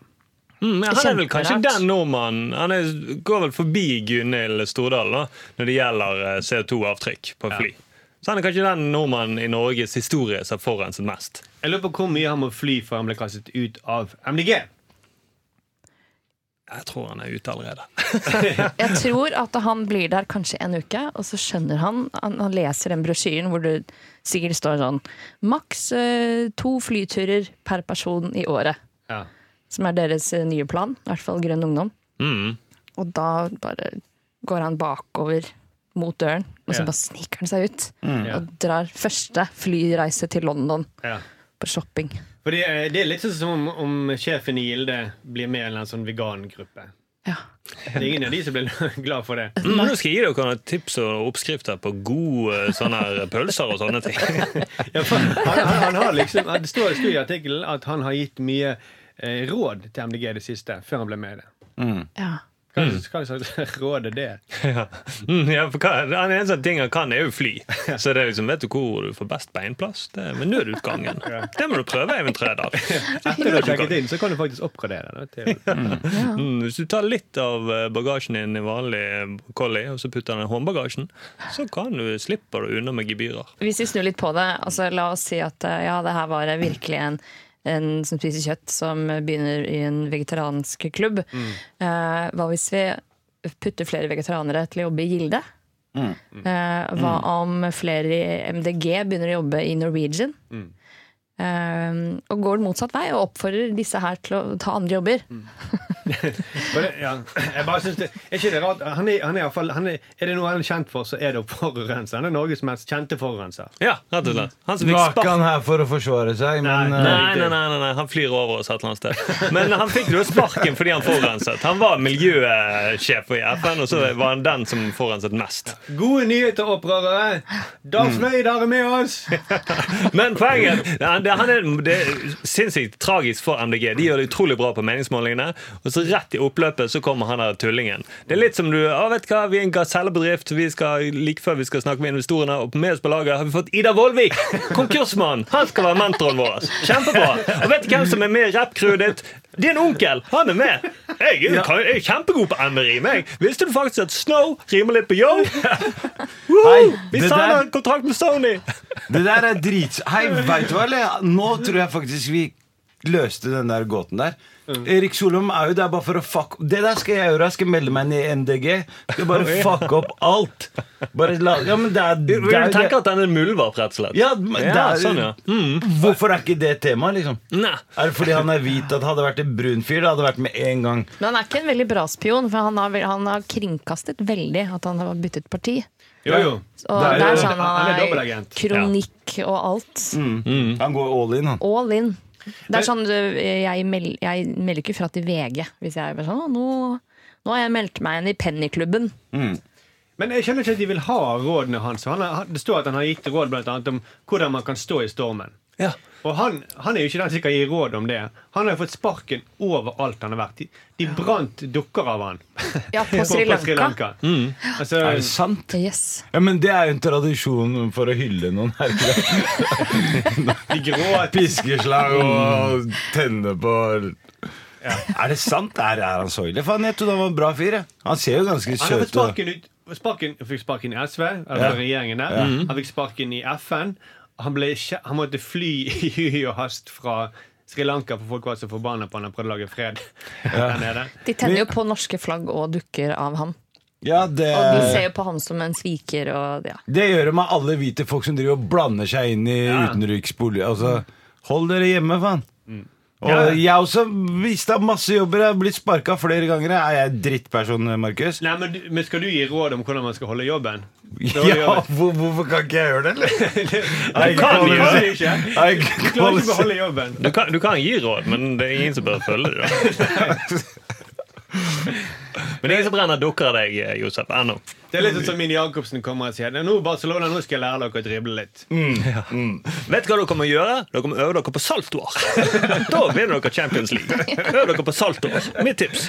[SPEAKER 5] Mm, men han er vel
[SPEAKER 3] Kjemperart.
[SPEAKER 5] kanskje den nordmannen Han er, går vel forbi Gunhild Stordal da, når det gjelder eh, CO2-avtrykk på fly. Så han er kanskje den nordmannen i Norges historie som har forurenset mest.
[SPEAKER 2] Jeg lurer på hvor mye han må fly før han ble kastet ut av MDG.
[SPEAKER 5] Jeg tror han er ute allerede.
[SPEAKER 3] Jeg tror at han blir der kanskje en uke, og så skjønner han Han, han leser den brosjyren hvor det sikkert står sånn Maks eh, to flyturer per person i året,
[SPEAKER 2] Ja.
[SPEAKER 3] som er deres eh, nye plan. I hvert fall Grønn ungdom.
[SPEAKER 5] Mm.
[SPEAKER 3] Og da bare går han bakover mot døren, og så
[SPEAKER 2] Ja.
[SPEAKER 3] bare sniker han seg ut.
[SPEAKER 2] Ja.
[SPEAKER 3] Og drar første flyreise til London
[SPEAKER 2] Ja.
[SPEAKER 3] på shopping.
[SPEAKER 2] For det, er- det er litt sånn som om, om sjefen i Gilde blir med i en eller annen sånn vegangruppe.
[SPEAKER 3] Ja.
[SPEAKER 2] Det er ingen av de som blir glad for det.
[SPEAKER 5] Mm, nå skal jeg gi dere noen tips og oppskrifter på gode eh, sånne her pølser og sånne ting.
[SPEAKER 2] Ja, for han, han, han har liksom, det står det sto i artikkelen at han har gitt mye eh, råd til MDG det siste, før han ble med i det.
[SPEAKER 3] ja.
[SPEAKER 2] Hva hva slags råd er det?
[SPEAKER 5] Ja. Mm, ja, for hva, han er en sånn ting han kan, er jo fly. Så det er liksom, vet du hvor du får best beinplass? Det er med nødutgangen. Det må du prøve, Even Trædal.
[SPEAKER 2] Etter du har sjekket inn, så kan du faktisk oppgradere det. Til.
[SPEAKER 5] Mm, hvis du tar litt av eh, bagasjen din i vanlig eh, collie, og så putter den i håndbagasjen, så kan du, slipper du unna med gebyrer.
[SPEAKER 3] Hvis vi snur litt på det, altså la oss si at eh, ja, det her var virkelig en, en som spiser kjøtt, som begynner i en vegetariansk klubb. Eh, hva hvis vi putter flere vegetarianere til å jobbe i Gilde? Eh, hva om flere i MDG begynner å jobbe i Norwegian? Eh, og går motsatt vei og oppfordrer disse her til å ta andre jobber.
[SPEAKER 2] Og det- Ja. Jeg bare synes det, er ikke det rart? Han er, han er, i hvert fall- han er, er det noe han er kjent for, så er det å forurense. Han er Norges mest kjente forurenser.
[SPEAKER 5] Ja, rett og slett. Han som
[SPEAKER 4] Nå
[SPEAKER 5] fikk
[SPEAKER 4] er ikke
[SPEAKER 5] sparken
[SPEAKER 4] han her for å forsvare seg, men
[SPEAKER 2] Nei,
[SPEAKER 4] eh,
[SPEAKER 5] Nei, nei, nei, nei, nei, han flyr over oss et eller annet sted. Men han fikk jo sparken fordi han forurenset. Han var miljøsjef i FN, og så var han den som forurenset mest.
[SPEAKER 2] Gode nyheter, opprørere! Darth Vader er med oss!
[SPEAKER 5] Men poenget han- det, han er, det er sinnssykt tragisk for MDG. De gjør det utrolig bra på meningsmålingene. Og så rett i oppløpet så kommer han der tullingen. Det er litt som du å, vet du hva, Vi er en gasellebedrift. Vi skal, like før vi skal snakke med investorene, og med oss på laget har vi fått Ida Vollvik! Konkursmann! Han skal være mentoren vår. Kjempebra! Og vet du hvem som er med i rappcrewet ditt? Din onkel! Han er med! Jeg, er- kan- jeg er kjempegod på MRI. Jeg. Visste du faktisk at Snow rimer litt på yo? Woo! Vi
[SPEAKER 4] det
[SPEAKER 5] signer
[SPEAKER 4] der-
[SPEAKER 5] en kontrakt med Sony!
[SPEAKER 4] det der er drits... Hei, veit du hva, eller? Nå tror jeg faktisk vi løste den der gåten der. Erik Solholm er jo der bare for å fuck Det der skal jeg gjøre. Jeg skal melde meg ned i MDG. Skal bare fucke opp alt. Bare la Ja, men det er, det
[SPEAKER 5] Du
[SPEAKER 4] er
[SPEAKER 5] tenker at den er en muldvarp, rett og slett?
[SPEAKER 4] ja, men det
[SPEAKER 5] Ja,
[SPEAKER 4] er,
[SPEAKER 5] sånn, ja.
[SPEAKER 4] Hvorfor er ikke det tema, liksom?
[SPEAKER 5] Nei.
[SPEAKER 4] Er det fordi han er hvit at hadde det vært en brun fyr, det hadde vært med en gang.
[SPEAKER 3] Men han er ikke en veldig bra spion, for han har, vel- han har kringkastet veldig at han har byttet parti.
[SPEAKER 2] Jo, jo.
[SPEAKER 3] Og
[SPEAKER 2] Det er-
[SPEAKER 3] der sa han
[SPEAKER 2] han er
[SPEAKER 3] han har
[SPEAKER 2] dobbeltagent.
[SPEAKER 3] eh, kronikk og alt.
[SPEAKER 5] Mm.
[SPEAKER 4] Han går all in, han.
[SPEAKER 3] All in. Det er sånn, du, jeg, meld, jeg melder ikke fra til VG hvis jeg er bare sånn «Å, nå, nå har jeg meldt meg inn i Pennyklubben.
[SPEAKER 2] Men jeg skjønner ikke at de vil ha rådene hans. Han har, det står at han har gitt råd blant annet om hvordan man kan stå i stormen.
[SPEAKER 5] Ja.
[SPEAKER 2] Og han, han er jo ikke den som kan gi råd om det. Han har jo fått sparken overalt han har vært. De, de brant dukker av han.
[SPEAKER 3] Ja, på Sri Lanka.
[SPEAKER 2] Altså,
[SPEAKER 4] Er det sant?
[SPEAKER 3] Yes.
[SPEAKER 4] Ja, men Det er jo en tradisjon for å hylle noen her.
[SPEAKER 2] de gråt.
[SPEAKER 4] Piskeslag og tenne på Er det sant? Er, er han så ille? Faen, jeg trodde han var en bra fyr. Jeg. Han ser jo ganske
[SPEAKER 2] Han har fått
[SPEAKER 4] søt ut.
[SPEAKER 2] sparken ut sparken, Han fikk sparken i SV, altså
[SPEAKER 4] Ja.
[SPEAKER 2] regjeringen der. Han fikk sparken i FN. Han, ble, ikke- han måtte fly i hy og hast fra Sri Lanka, for folk var så forbanna på han han prøvde å lage fred der nede.
[SPEAKER 3] De tenner jo på norske flagg og dukker av ham.
[SPEAKER 4] Ja, det,
[SPEAKER 5] Eh.
[SPEAKER 3] Og de ser jo på ham som en sviker og ja.
[SPEAKER 4] det gjør det med alle hvite folk som driver og blander seg inn i
[SPEAKER 2] Ja.
[SPEAKER 4] utenriksbolig. Altså, hold dere hjemme, faen. Og
[SPEAKER 2] Ja.
[SPEAKER 4] jeg også mista masse jobber. Jeg har blitt sparka flere ganger. Er jeg drittperson, Markus?
[SPEAKER 2] Nei, men, du- men skal du gi råd om hvordan man skal holde jobben?
[SPEAKER 4] Ja,
[SPEAKER 2] Dårlig jobb.
[SPEAKER 4] hvor, hvorfor kan ikke jeg gjøre det, eller? Nei,
[SPEAKER 5] kan
[SPEAKER 2] Du
[SPEAKER 5] gjøre
[SPEAKER 2] klarer
[SPEAKER 5] det.
[SPEAKER 2] ikke.
[SPEAKER 4] Jeg
[SPEAKER 2] Du klarer ikke å beholde jobben.
[SPEAKER 5] Du kan, du kan gi råd, men det er ingen som bør følge det. da. Men det er ingen som brenner dukker av deg, Josef, ennå.
[SPEAKER 2] Det er litt sånn som Mini Jacobsen kommer og sier Nå Barcelona, nå skal jeg lære dere å drible litt.
[SPEAKER 5] Vet du hva dere kommer å gjøre? Dere kommer å øve dere på saltoer. Da vinner dere Champions League. Øv dere på saltoer. Mitt tips.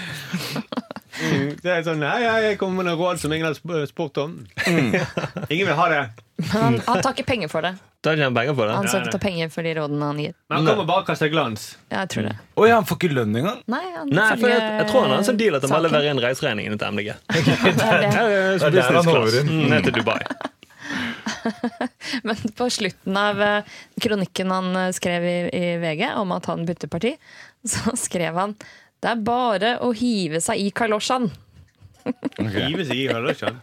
[SPEAKER 2] Det er sånn, Hei, hei, jeg kommer med noen råd som ingen har sp- spurt om. Ingen vil ha det.
[SPEAKER 3] Men han, han tar ikke penger for det.
[SPEAKER 5] Da tjener jeg penger på
[SPEAKER 3] Han
[SPEAKER 5] det.
[SPEAKER 3] skal ikke ta penger for de rådene han gir.
[SPEAKER 2] Men han kommer bare og kaster glans.
[SPEAKER 3] Ja, Jeg tror det.
[SPEAKER 4] Å ja, han får ikke lønn engang?
[SPEAKER 3] Nei, han
[SPEAKER 5] Mm. Nei, for jeg, jeg tror han har en sånn
[SPEAKER 3] følger
[SPEAKER 5] deal at han bare
[SPEAKER 3] saken.
[SPEAKER 5] leverer inn reiseregningene til MDG.
[SPEAKER 3] Det er det.
[SPEAKER 5] Her er
[SPEAKER 4] Det er der han
[SPEAKER 5] business class.
[SPEAKER 4] holder inn.
[SPEAKER 5] Mm, Ned til Dubai.
[SPEAKER 3] Men på slutten av eh, kronikken han eh, skrev i, i VG om at han bytter parti, så skrev han det er bare å hive seg i kalosjan.
[SPEAKER 2] Hiver seg i Høllerkjønn.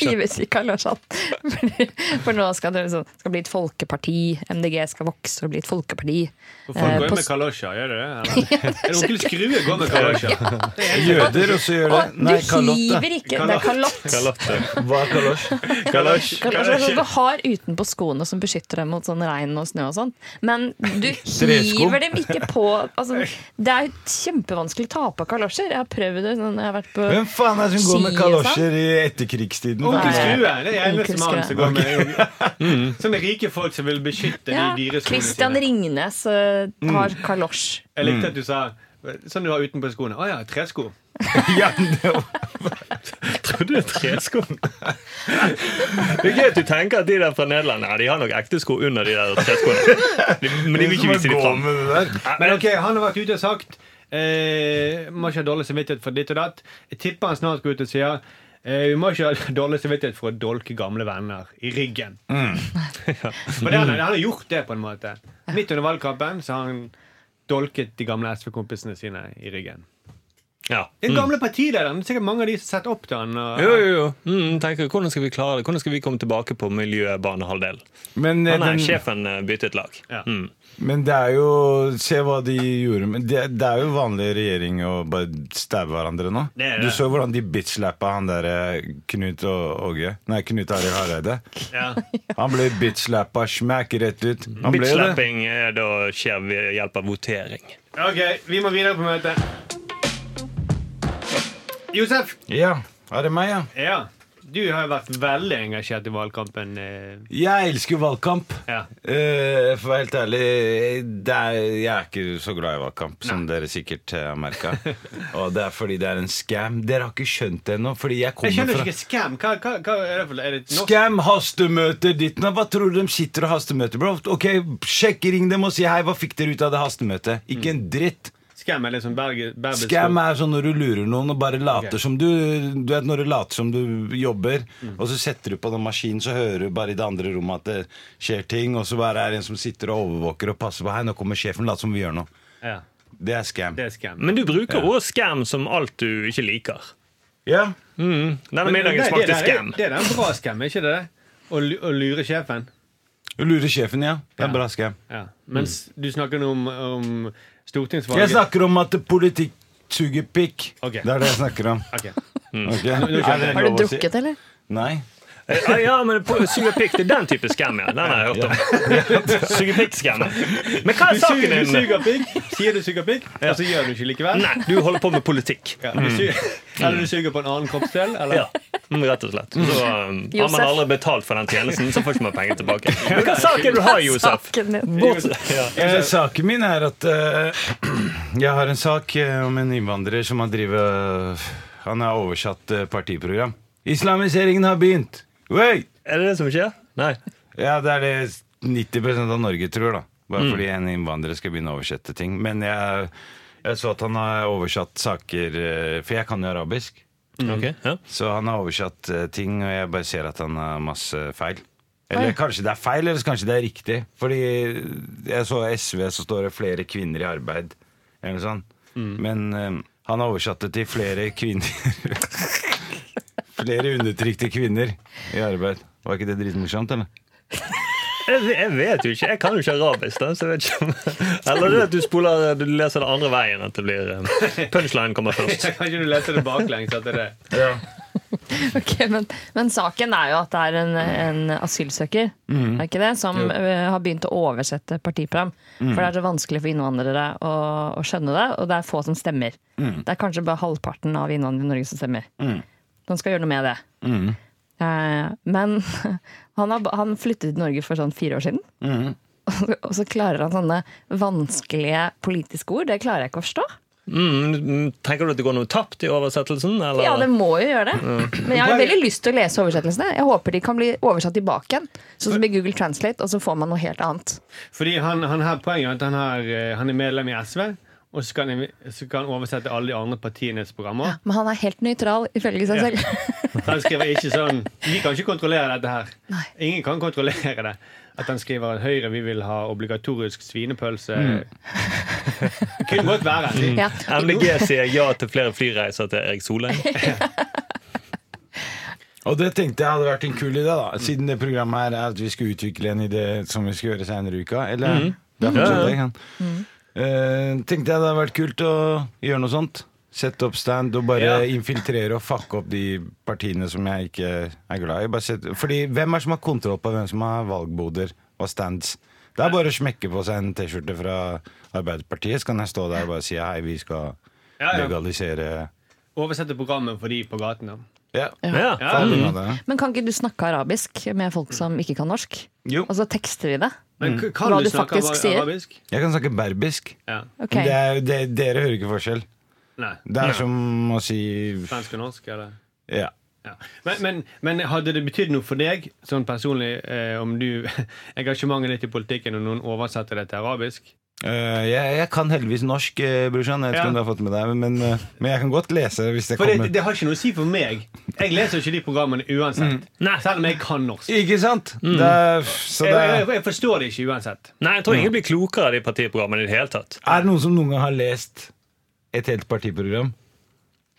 [SPEAKER 3] Hive seg i kalosjan. Fordi- For nå skal det liksom, skal bli et folkeparti. MDG skal vokse og bli et folkeparti.
[SPEAKER 2] For
[SPEAKER 3] Eh,
[SPEAKER 2] folk går
[SPEAKER 3] på
[SPEAKER 2] jo med
[SPEAKER 3] s-
[SPEAKER 2] kalosjer, gjør de det? Eller? Er det onkel Skrue går med kalosjer?
[SPEAKER 4] Jøder også gjør det.
[SPEAKER 3] Å, du hiver ikke! Det er kalott.
[SPEAKER 5] Kalotte.
[SPEAKER 4] Hva er kalosj?
[SPEAKER 5] Kalosj.
[SPEAKER 3] Kalosj er sånn du har utenpå skoene som beskytter deg mot sånn regn og snø og sånt. Men du
[SPEAKER 4] Tresko.
[SPEAKER 3] hiver dem ikke på altså, Det er jo kjempevanskelig å ta på kalosjer. Jeg har prøvd det sånn, når jeg har vært på
[SPEAKER 4] Hvem faen er det som går med
[SPEAKER 3] Ski, sånn.
[SPEAKER 4] kalosjer i etterkrigstiden?
[SPEAKER 3] Å,
[SPEAKER 2] Onkel
[SPEAKER 3] Nei.
[SPEAKER 2] Skrue det er eneste
[SPEAKER 3] Onkel
[SPEAKER 2] mann
[SPEAKER 3] Skrue.
[SPEAKER 2] som går med Sånne rike folk som vil beskytte de
[SPEAKER 3] Ja,
[SPEAKER 2] dyre skoene
[SPEAKER 3] Christian Ringnes eh, har
[SPEAKER 4] Mm.
[SPEAKER 3] kalosj.
[SPEAKER 2] Jeg likte at du sa sånn du har utenpå skoene. Å ja, tresko.
[SPEAKER 4] Ja, det var-
[SPEAKER 5] Trodde det var tresko. Det er gøy at du tenker at de der fra Nederland Nei, de har nok ekte sko under de der treskoene. De, men de vil ikke vise
[SPEAKER 4] Som
[SPEAKER 5] de
[SPEAKER 4] å gå
[SPEAKER 5] fram.
[SPEAKER 4] med det der.
[SPEAKER 2] Men eh, ok, han har vært ute og sagt eh, Må ikke ha dårlig samvittighet for ditt og datt. Jeg tipper han snart går ut og sier eh, vi må ikke ha dårlig samvittighet for å dolke gamle venner i ryggen. Mm. For det, han, han har gjort det, på en måte. Midt under valgkampen så har han dolket de gamle SV-kompisene sine i ryggen.
[SPEAKER 5] Ja.
[SPEAKER 2] Den gamle partilederen. Det er sikkert mange av de som setter opp til han. og-
[SPEAKER 5] Jo, jo, jo. Mm, tenker, hvordan skal vi klare det? Hvordan skal vi komme tilbake på miljøbanehalvdel?
[SPEAKER 4] Men, eh,
[SPEAKER 5] Han er
[SPEAKER 4] den,
[SPEAKER 5] sjefen eh, byttet lag.
[SPEAKER 2] Ja.
[SPEAKER 5] Mm.
[SPEAKER 4] men det er jo Se hva de gjorde med Det, det er jo vanlig regjering å bare stabbe hverandre nå.
[SPEAKER 2] Det er det.
[SPEAKER 4] Du så hvordan de bitchlappa han der eh, Knut og Åge Nei, Knut Arild Hareide.
[SPEAKER 2] Ja.
[SPEAKER 4] Han ble bitchlappa smack rett ut. Han ble jo det.
[SPEAKER 5] Bitch-slapping eh, da skjer ved hjelp av votering.
[SPEAKER 2] Ok, vi må videre på møtet. Josef,
[SPEAKER 4] Ja, er det meg, ja?
[SPEAKER 2] ja. du har jo vært veldig engasjert i valgkampen. eh.
[SPEAKER 4] Jeg elsker valgkamp.
[SPEAKER 2] Ja.
[SPEAKER 4] Eh, for å være helt ærlig, det er, jeg er ikke så glad i valgkamp, som dere sikkert eh, har merka. Og det er fordi det er en scam. Dere har ikke skjønt det ennå. Fordi jeg
[SPEAKER 2] Jeg skjønner
[SPEAKER 4] kommer
[SPEAKER 2] ikke
[SPEAKER 4] fra
[SPEAKER 2] scam. Hva, hva, hva er det for er det norsk?
[SPEAKER 4] Scam, hastemøter, ditten og Hva tror du de sitter og hastemøter, bro? Ok, sjekk, ring dem og si hei, hva fikk dere ut av det hastemøtet? Ikke en dritt.
[SPEAKER 2] Scam er liksom Berge, Berbersk-
[SPEAKER 4] Scam er sånn når du lurer noen og bare later som du Du vet når du later som du jobber,
[SPEAKER 2] Mm.
[SPEAKER 4] og så setter du på den maskinen, så hører du bare i det andre rommet at det skjer ting, og så bare er det en som sitter og overvåker og passer på. Hei, nå kommer sjefen, lat som vi gjør noe.
[SPEAKER 2] Ja,
[SPEAKER 4] Det er scam.
[SPEAKER 2] det er scam.
[SPEAKER 5] Men du bruker òg scam som alt du ikke liker.
[SPEAKER 4] Ja.
[SPEAKER 5] Mm. Denne
[SPEAKER 2] Men
[SPEAKER 5] middagen
[SPEAKER 2] det- det
[SPEAKER 5] smakte
[SPEAKER 2] der er-
[SPEAKER 5] scam.
[SPEAKER 2] Det der er en bra scam, er ikke det? Å, lu- å lure sjefen.
[SPEAKER 4] Du lurer sjefen, ja. Det er bra scam.
[SPEAKER 2] Ja. Mens du snakker nå om, om stortingsvalget.
[SPEAKER 4] Mm. Jeg snakker om at politikk suger pikk.
[SPEAKER 2] Ok.
[SPEAKER 4] Det er det jeg snakker om.
[SPEAKER 2] Ok.
[SPEAKER 4] Ok?
[SPEAKER 2] nå skjønner
[SPEAKER 4] Er det
[SPEAKER 2] jeg.
[SPEAKER 3] Har du
[SPEAKER 4] lov å si?
[SPEAKER 3] drukket, eller?
[SPEAKER 4] Nei.
[SPEAKER 5] Eh, ah, ja, men på- suger pikk, det er den type scam, ja. Den har jeg hørt om. Suger pikk-scam. Men hva
[SPEAKER 2] Du
[SPEAKER 5] er saken
[SPEAKER 2] suger, du
[SPEAKER 5] din?
[SPEAKER 2] suger pikk, sier du suger pikk, og så gjør du ikke likevel.
[SPEAKER 5] Nei, du holder på med politikk.
[SPEAKER 2] Ja, du suger, eller du suger på en annen kroppsdel. Eller?
[SPEAKER 5] Ja, mm, rett og slett. Så um, har
[SPEAKER 3] Josef.
[SPEAKER 5] man aldri betalt for den tjenesten, så får ikke man penger tilbake. Men hva er saken du har, Josef?
[SPEAKER 3] Saken din.
[SPEAKER 5] Ja.
[SPEAKER 4] Eh, saken min er at eh, jeg har en sak eh, om en innvandrer som har drevet Han har oversatt eh, partiprogram. Islamiseringen har begynt! Wait!
[SPEAKER 5] Er det det som skjer? Nei.
[SPEAKER 4] Ja, det er det 90 av Norge tror, da. Bare fordi en innvandrer skal begynne å oversette ting. Men jeg, jeg så at han har oversatt saker eh, For jeg kan jo arabisk.
[SPEAKER 5] Mm. Ok, ja.
[SPEAKER 4] Så han har oversatt eh, ting, og jeg bare ser at han har masse feil. Eller kanskje det er feil, eller så kanskje det er riktig. Fordi jeg så SV, så står det 'flere kvinner i arbeid', eller noe sånt. Men eh, han har oversatt det til 'flere kvinner'. flere undertrykte kvinner i arbeid. Var ikke det dritmorsomt, eller?
[SPEAKER 5] Jeg, jeg vet jo ikke. Jeg kan jo ikke arabisk. Da, så jeg vet ikke. om- Eller det er at du, spoler, du leser det andre veien. At det blir um, Punchline kommer først.
[SPEAKER 2] Kan ikke du lese det baklengs etter det?
[SPEAKER 3] Ok, men, men saken er jo at det er en, en asylsøker er ikke det, som eh, har begynt å oversette partiprogram. For det er så vanskelig for innvandrere å, å skjønne det, og det er få som stemmer. Det er kanskje bare halvparten av innvandrere i Norge som stemmer. Man skal gjøre noe med det. Eh, men han, har, han flyttet til Norge for sånn fire år siden. Og så klarer han sånne vanskelige politiske ord. Det klarer jeg ikke å forstå.
[SPEAKER 5] Mm, tenker du at det går noe tapt i oversettelsen? Eller?
[SPEAKER 3] Ja, det må jo gjøre det. Men jeg har veldig lyst til å lese oversettelsene. Jeg håper de kan bli oversatt tilbake igjen. Sånn som i Google Translate, og så får man noe helt annet.
[SPEAKER 2] Fordi han, han her, Poenget er at han, har, eh, han er medlem i SV, og så kan, han, så kan han oversette alle de andre partienes programmer.
[SPEAKER 3] Men han er helt nøytral, ifølge seg selv.
[SPEAKER 2] Han skriver ikke sånn Vi kan ikke kontrollere dette her. Ingen kan kontrollere det. At han skriver at Høyre vi vil ha obligatorisk svinepølse. Kunne godt være.
[SPEAKER 3] Mm. Ja.
[SPEAKER 5] MDG sier ja til flere flyreiser til Erik Solheim.
[SPEAKER 4] Og det tenkte jeg hadde vært en kul idé, da. Siden det programmet her er at vi skal utvikle en idé som vi skal gjøre senere i uka. Eller
[SPEAKER 2] Mm.
[SPEAKER 4] det er fortsatt
[SPEAKER 5] Ja, ja.
[SPEAKER 4] det, kan. Eh, tenkte jeg det hadde vært kult å gjøre noe sånt. Sette opp stand og bare
[SPEAKER 2] Ja.
[SPEAKER 4] infiltrere og fucke opp de partiene som jeg ikke er glad i. Bare sette, fordi hvem er det som har kontroll på hvem som har valgboder og stands? Det er bare å smekke på seg en T-skjorte fra Arbeiderpartiet, så kan jeg stå der og bare si hei, vi skal
[SPEAKER 2] Ja, ja.
[SPEAKER 4] legalisere
[SPEAKER 2] Oversette programmet for de på gaten. da.
[SPEAKER 4] Ja.
[SPEAKER 2] Ja.
[SPEAKER 5] Ja.
[SPEAKER 2] Mm.
[SPEAKER 4] faen, det er det.
[SPEAKER 3] Men kan ikke du snakke arabisk med folk som ikke kan norsk?
[SPEAKER 4] Jo.
[SPEAKER 3] Og så tekster vi det?
[SPEAKER 2] Men k- kan
[SPEAKER 3] Mm. Hva
[SPEAKER 2] du
[SPEAKER 3] du
[SPEAKER 2] snakke
[SPEAKER 3] faktisk
[SPEAKER 2] ara-
[SPEAKER 3] sier?
[SPEAKER 2] arabisk?
[SPEAKER 4] Jeg kan snakke berbisk.
[SPEAKER 2] Ja.
[SPEAKER 3] Ok.
[SPEAKER 4] Men Det er, jo- det, dere hører ikke forskjell.
[SPEAKER 2] Nei.
[SPEAKER 4] Det er som å si
[SPEAKER 2] Svensk og norsk, eller?
[SPEAKER 4] Ja.
[SPEAKER 2] Ja. Men, men, men hadde det betydd noe for deg, sånn personlig, eh, om du engasjementet ditt i politikken og noen oversetter det til arabisk?
[SPEAKER 4] Eh, jeg, jeg kan heldigvis norsk, eh, brorsan. Jeg vet ikke
[SPEAKER 2] Ja.
[SPEAKER 4] om du har fått med deg men, eh, men jeg kan godt lese hvis det
[SPEAKER 2] For
[SPEAKER 4] kommer.
[SPEAKER 2] det, det har ikke noe å si for meg. Jeg leser jo ikke de programmene uansett.
[SPEAKER 4] Mm.
[SPEAKER 5] Nei.
[SPEAKER 2] Selv om jeg kan norsk.
[SPEAKER 4] Ikke sant? Det er, Mm. så det
[SPEAKER 2] Jeg, jeg,
[SPEAKER 4] er,
[SPEAKER 2] jeg forstår det ikke uansett.
[SPEAKER 5] Nei, jeg tror ingen blir klokere av de partiprogrammene i det hele tatt.
[SPEAKER 4] er det noen som noen gang har lest et helt partiprogram?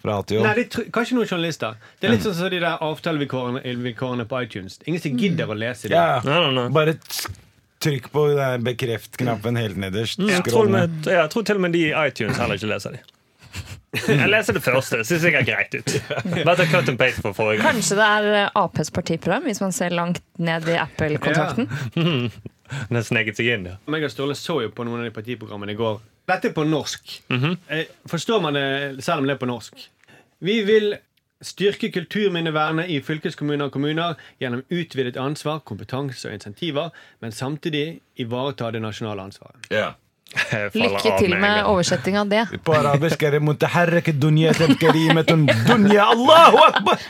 [SPEAKER 4] Fra A til Å.
[SPEAKER 2] Nei, det er kanskje noen journalister. Det er litt sånn som de der avtalevilkårene vilkårene på iTunes. Ingen som gidder å lese dem.
[SPEAKER 4] Mm. Ja,
[SPEAKER 5] Nei, nei, nei.
[SPEAKER 4] Bare t- trykk på den der bekreft-knappen helt nederst.
[SPEAKER 5] Mm, Jeg tror,
[SPEAKER 4] Scroll
[SPEAKER 5] med,
[SPEAKER 4] Mm. ned.
[SPEAKER 5] ja, jeg tror til og med de i iTunes heller ikke leser de. Jeg leser det første. Det ser sikkert greit ut. Bare ta cut and paste på forrige gang.
[SPEAKER 3] Kanskje det er eh, Aps partiprogram, hvis man ser langt ned i Apple-kontakten.
[SPEAKER 5] Den har sneget seg inn, ja.
[SPEAKER 2] Meg og Ståle så jo på noen av de partiprogrammene i går. Dette er på norsk. Eh, Forstår man det selv om det er på norsk? Vi vil styrke kulturminnevernet i fylkeskommuner og kommuner gjennom utvidet ansvar, kompetanse og insentiver, men samtidig ivareta det nasjonale ansvaret.
[SPEAKER 5] Jeg faller
[SPEAKER 3] Lykke
[SPEAKER 5] av
[SPEAKER 3] til
[SPEAKER 5] en
[SPEAKER 3] med
[SPEAKER 5] gang.
[SPEAKER 3] oversetting av det.
[SPEAKER 4] På arabisk er det «Mutaharrike dunya tebkarimetun dunya Allahu akbar!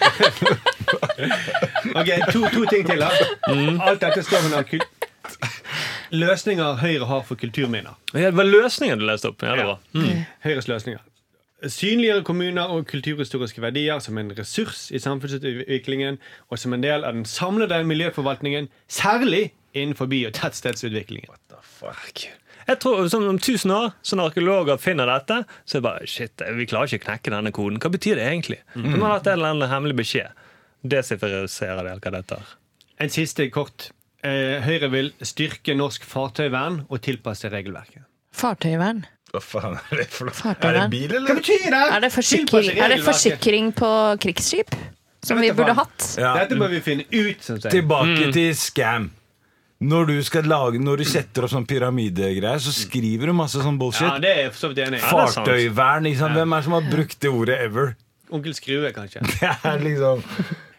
[SPEAKER 2] Ok, To, to ting til. da Alt dette står under kul løsninger Høyre har for kulturminner.
[SPEAKER 5] Ja, det var løsningen du leste opp. Ja, det var.
[SPEAKER 3] Mm.
[SPEAKER 2] Høyres løsninger. Synliggjøre kommuner og kulturhistoriske verdier som en ressurs i samfunnsutviklingen og som en del av den samlede miljøforvaltningen, særlig innenfor by- og tettstedsutviklingen.
[SPEAKER 5] Jeg tror sånn Om tusen år, så når arkeologer finner dette, så er det bare shit, vi klarer ikke å knekke denne koden. Hva betyr det egentlig?
[SPEAKER 3] Mm.
[SPEAKER 5] Man har hatt en eller annen hemmelig beskjed. Desifrerer det hva dette er.
[SPEAKER 2] En siste kort. Eh, Høyre vil styrke norsk fartøyvern og tilpasse regelverket.
[SPEAKER 3] Fartøyvern.
[SPEAKER 4] Hva faen er det for noe? Er det
[SPEAKER 3] Fartøyvern.
[SPEAKER 4] bil,
[SPEAKER 2] Hva
[SPEAKER 4] eller?
[SPEAKER 2] betyr det?
[SPEAKER 3] Er det forsikring, er det forsikring på krigsskip? Som vi
[SPEAKER 2] Jeg vet da
[SPEAKER 3] burde
[SPEAKER 2] faen.
[SPEAKER 3] hatt?
[SPEAKER 4] Ja.
[SPEAKER 2] Dette bør vi finne ut. Som sier.
[SPEAKER 4] Tilbake
[SPEAKER 5] Mm.
[SPEAKER 4] til scam. Når du, skal lage, når du setter opp sånn pyramidegreier, så skriver du masse sånn
[SPEAKER 2] Ja,
[SPEAKER 4] bullshit.
[SPEAKER 2] det er jeg for så vidt enig i.
[SPEAKER 5] det er sant.
[SPEAKER 4] Fartøyvern. Ikke sant? Hvem er det som har brukt det ordet ever?
[SPEAKER 2] Onkel Skrue, kanskje.
[SPEAKER 4] Det er liksom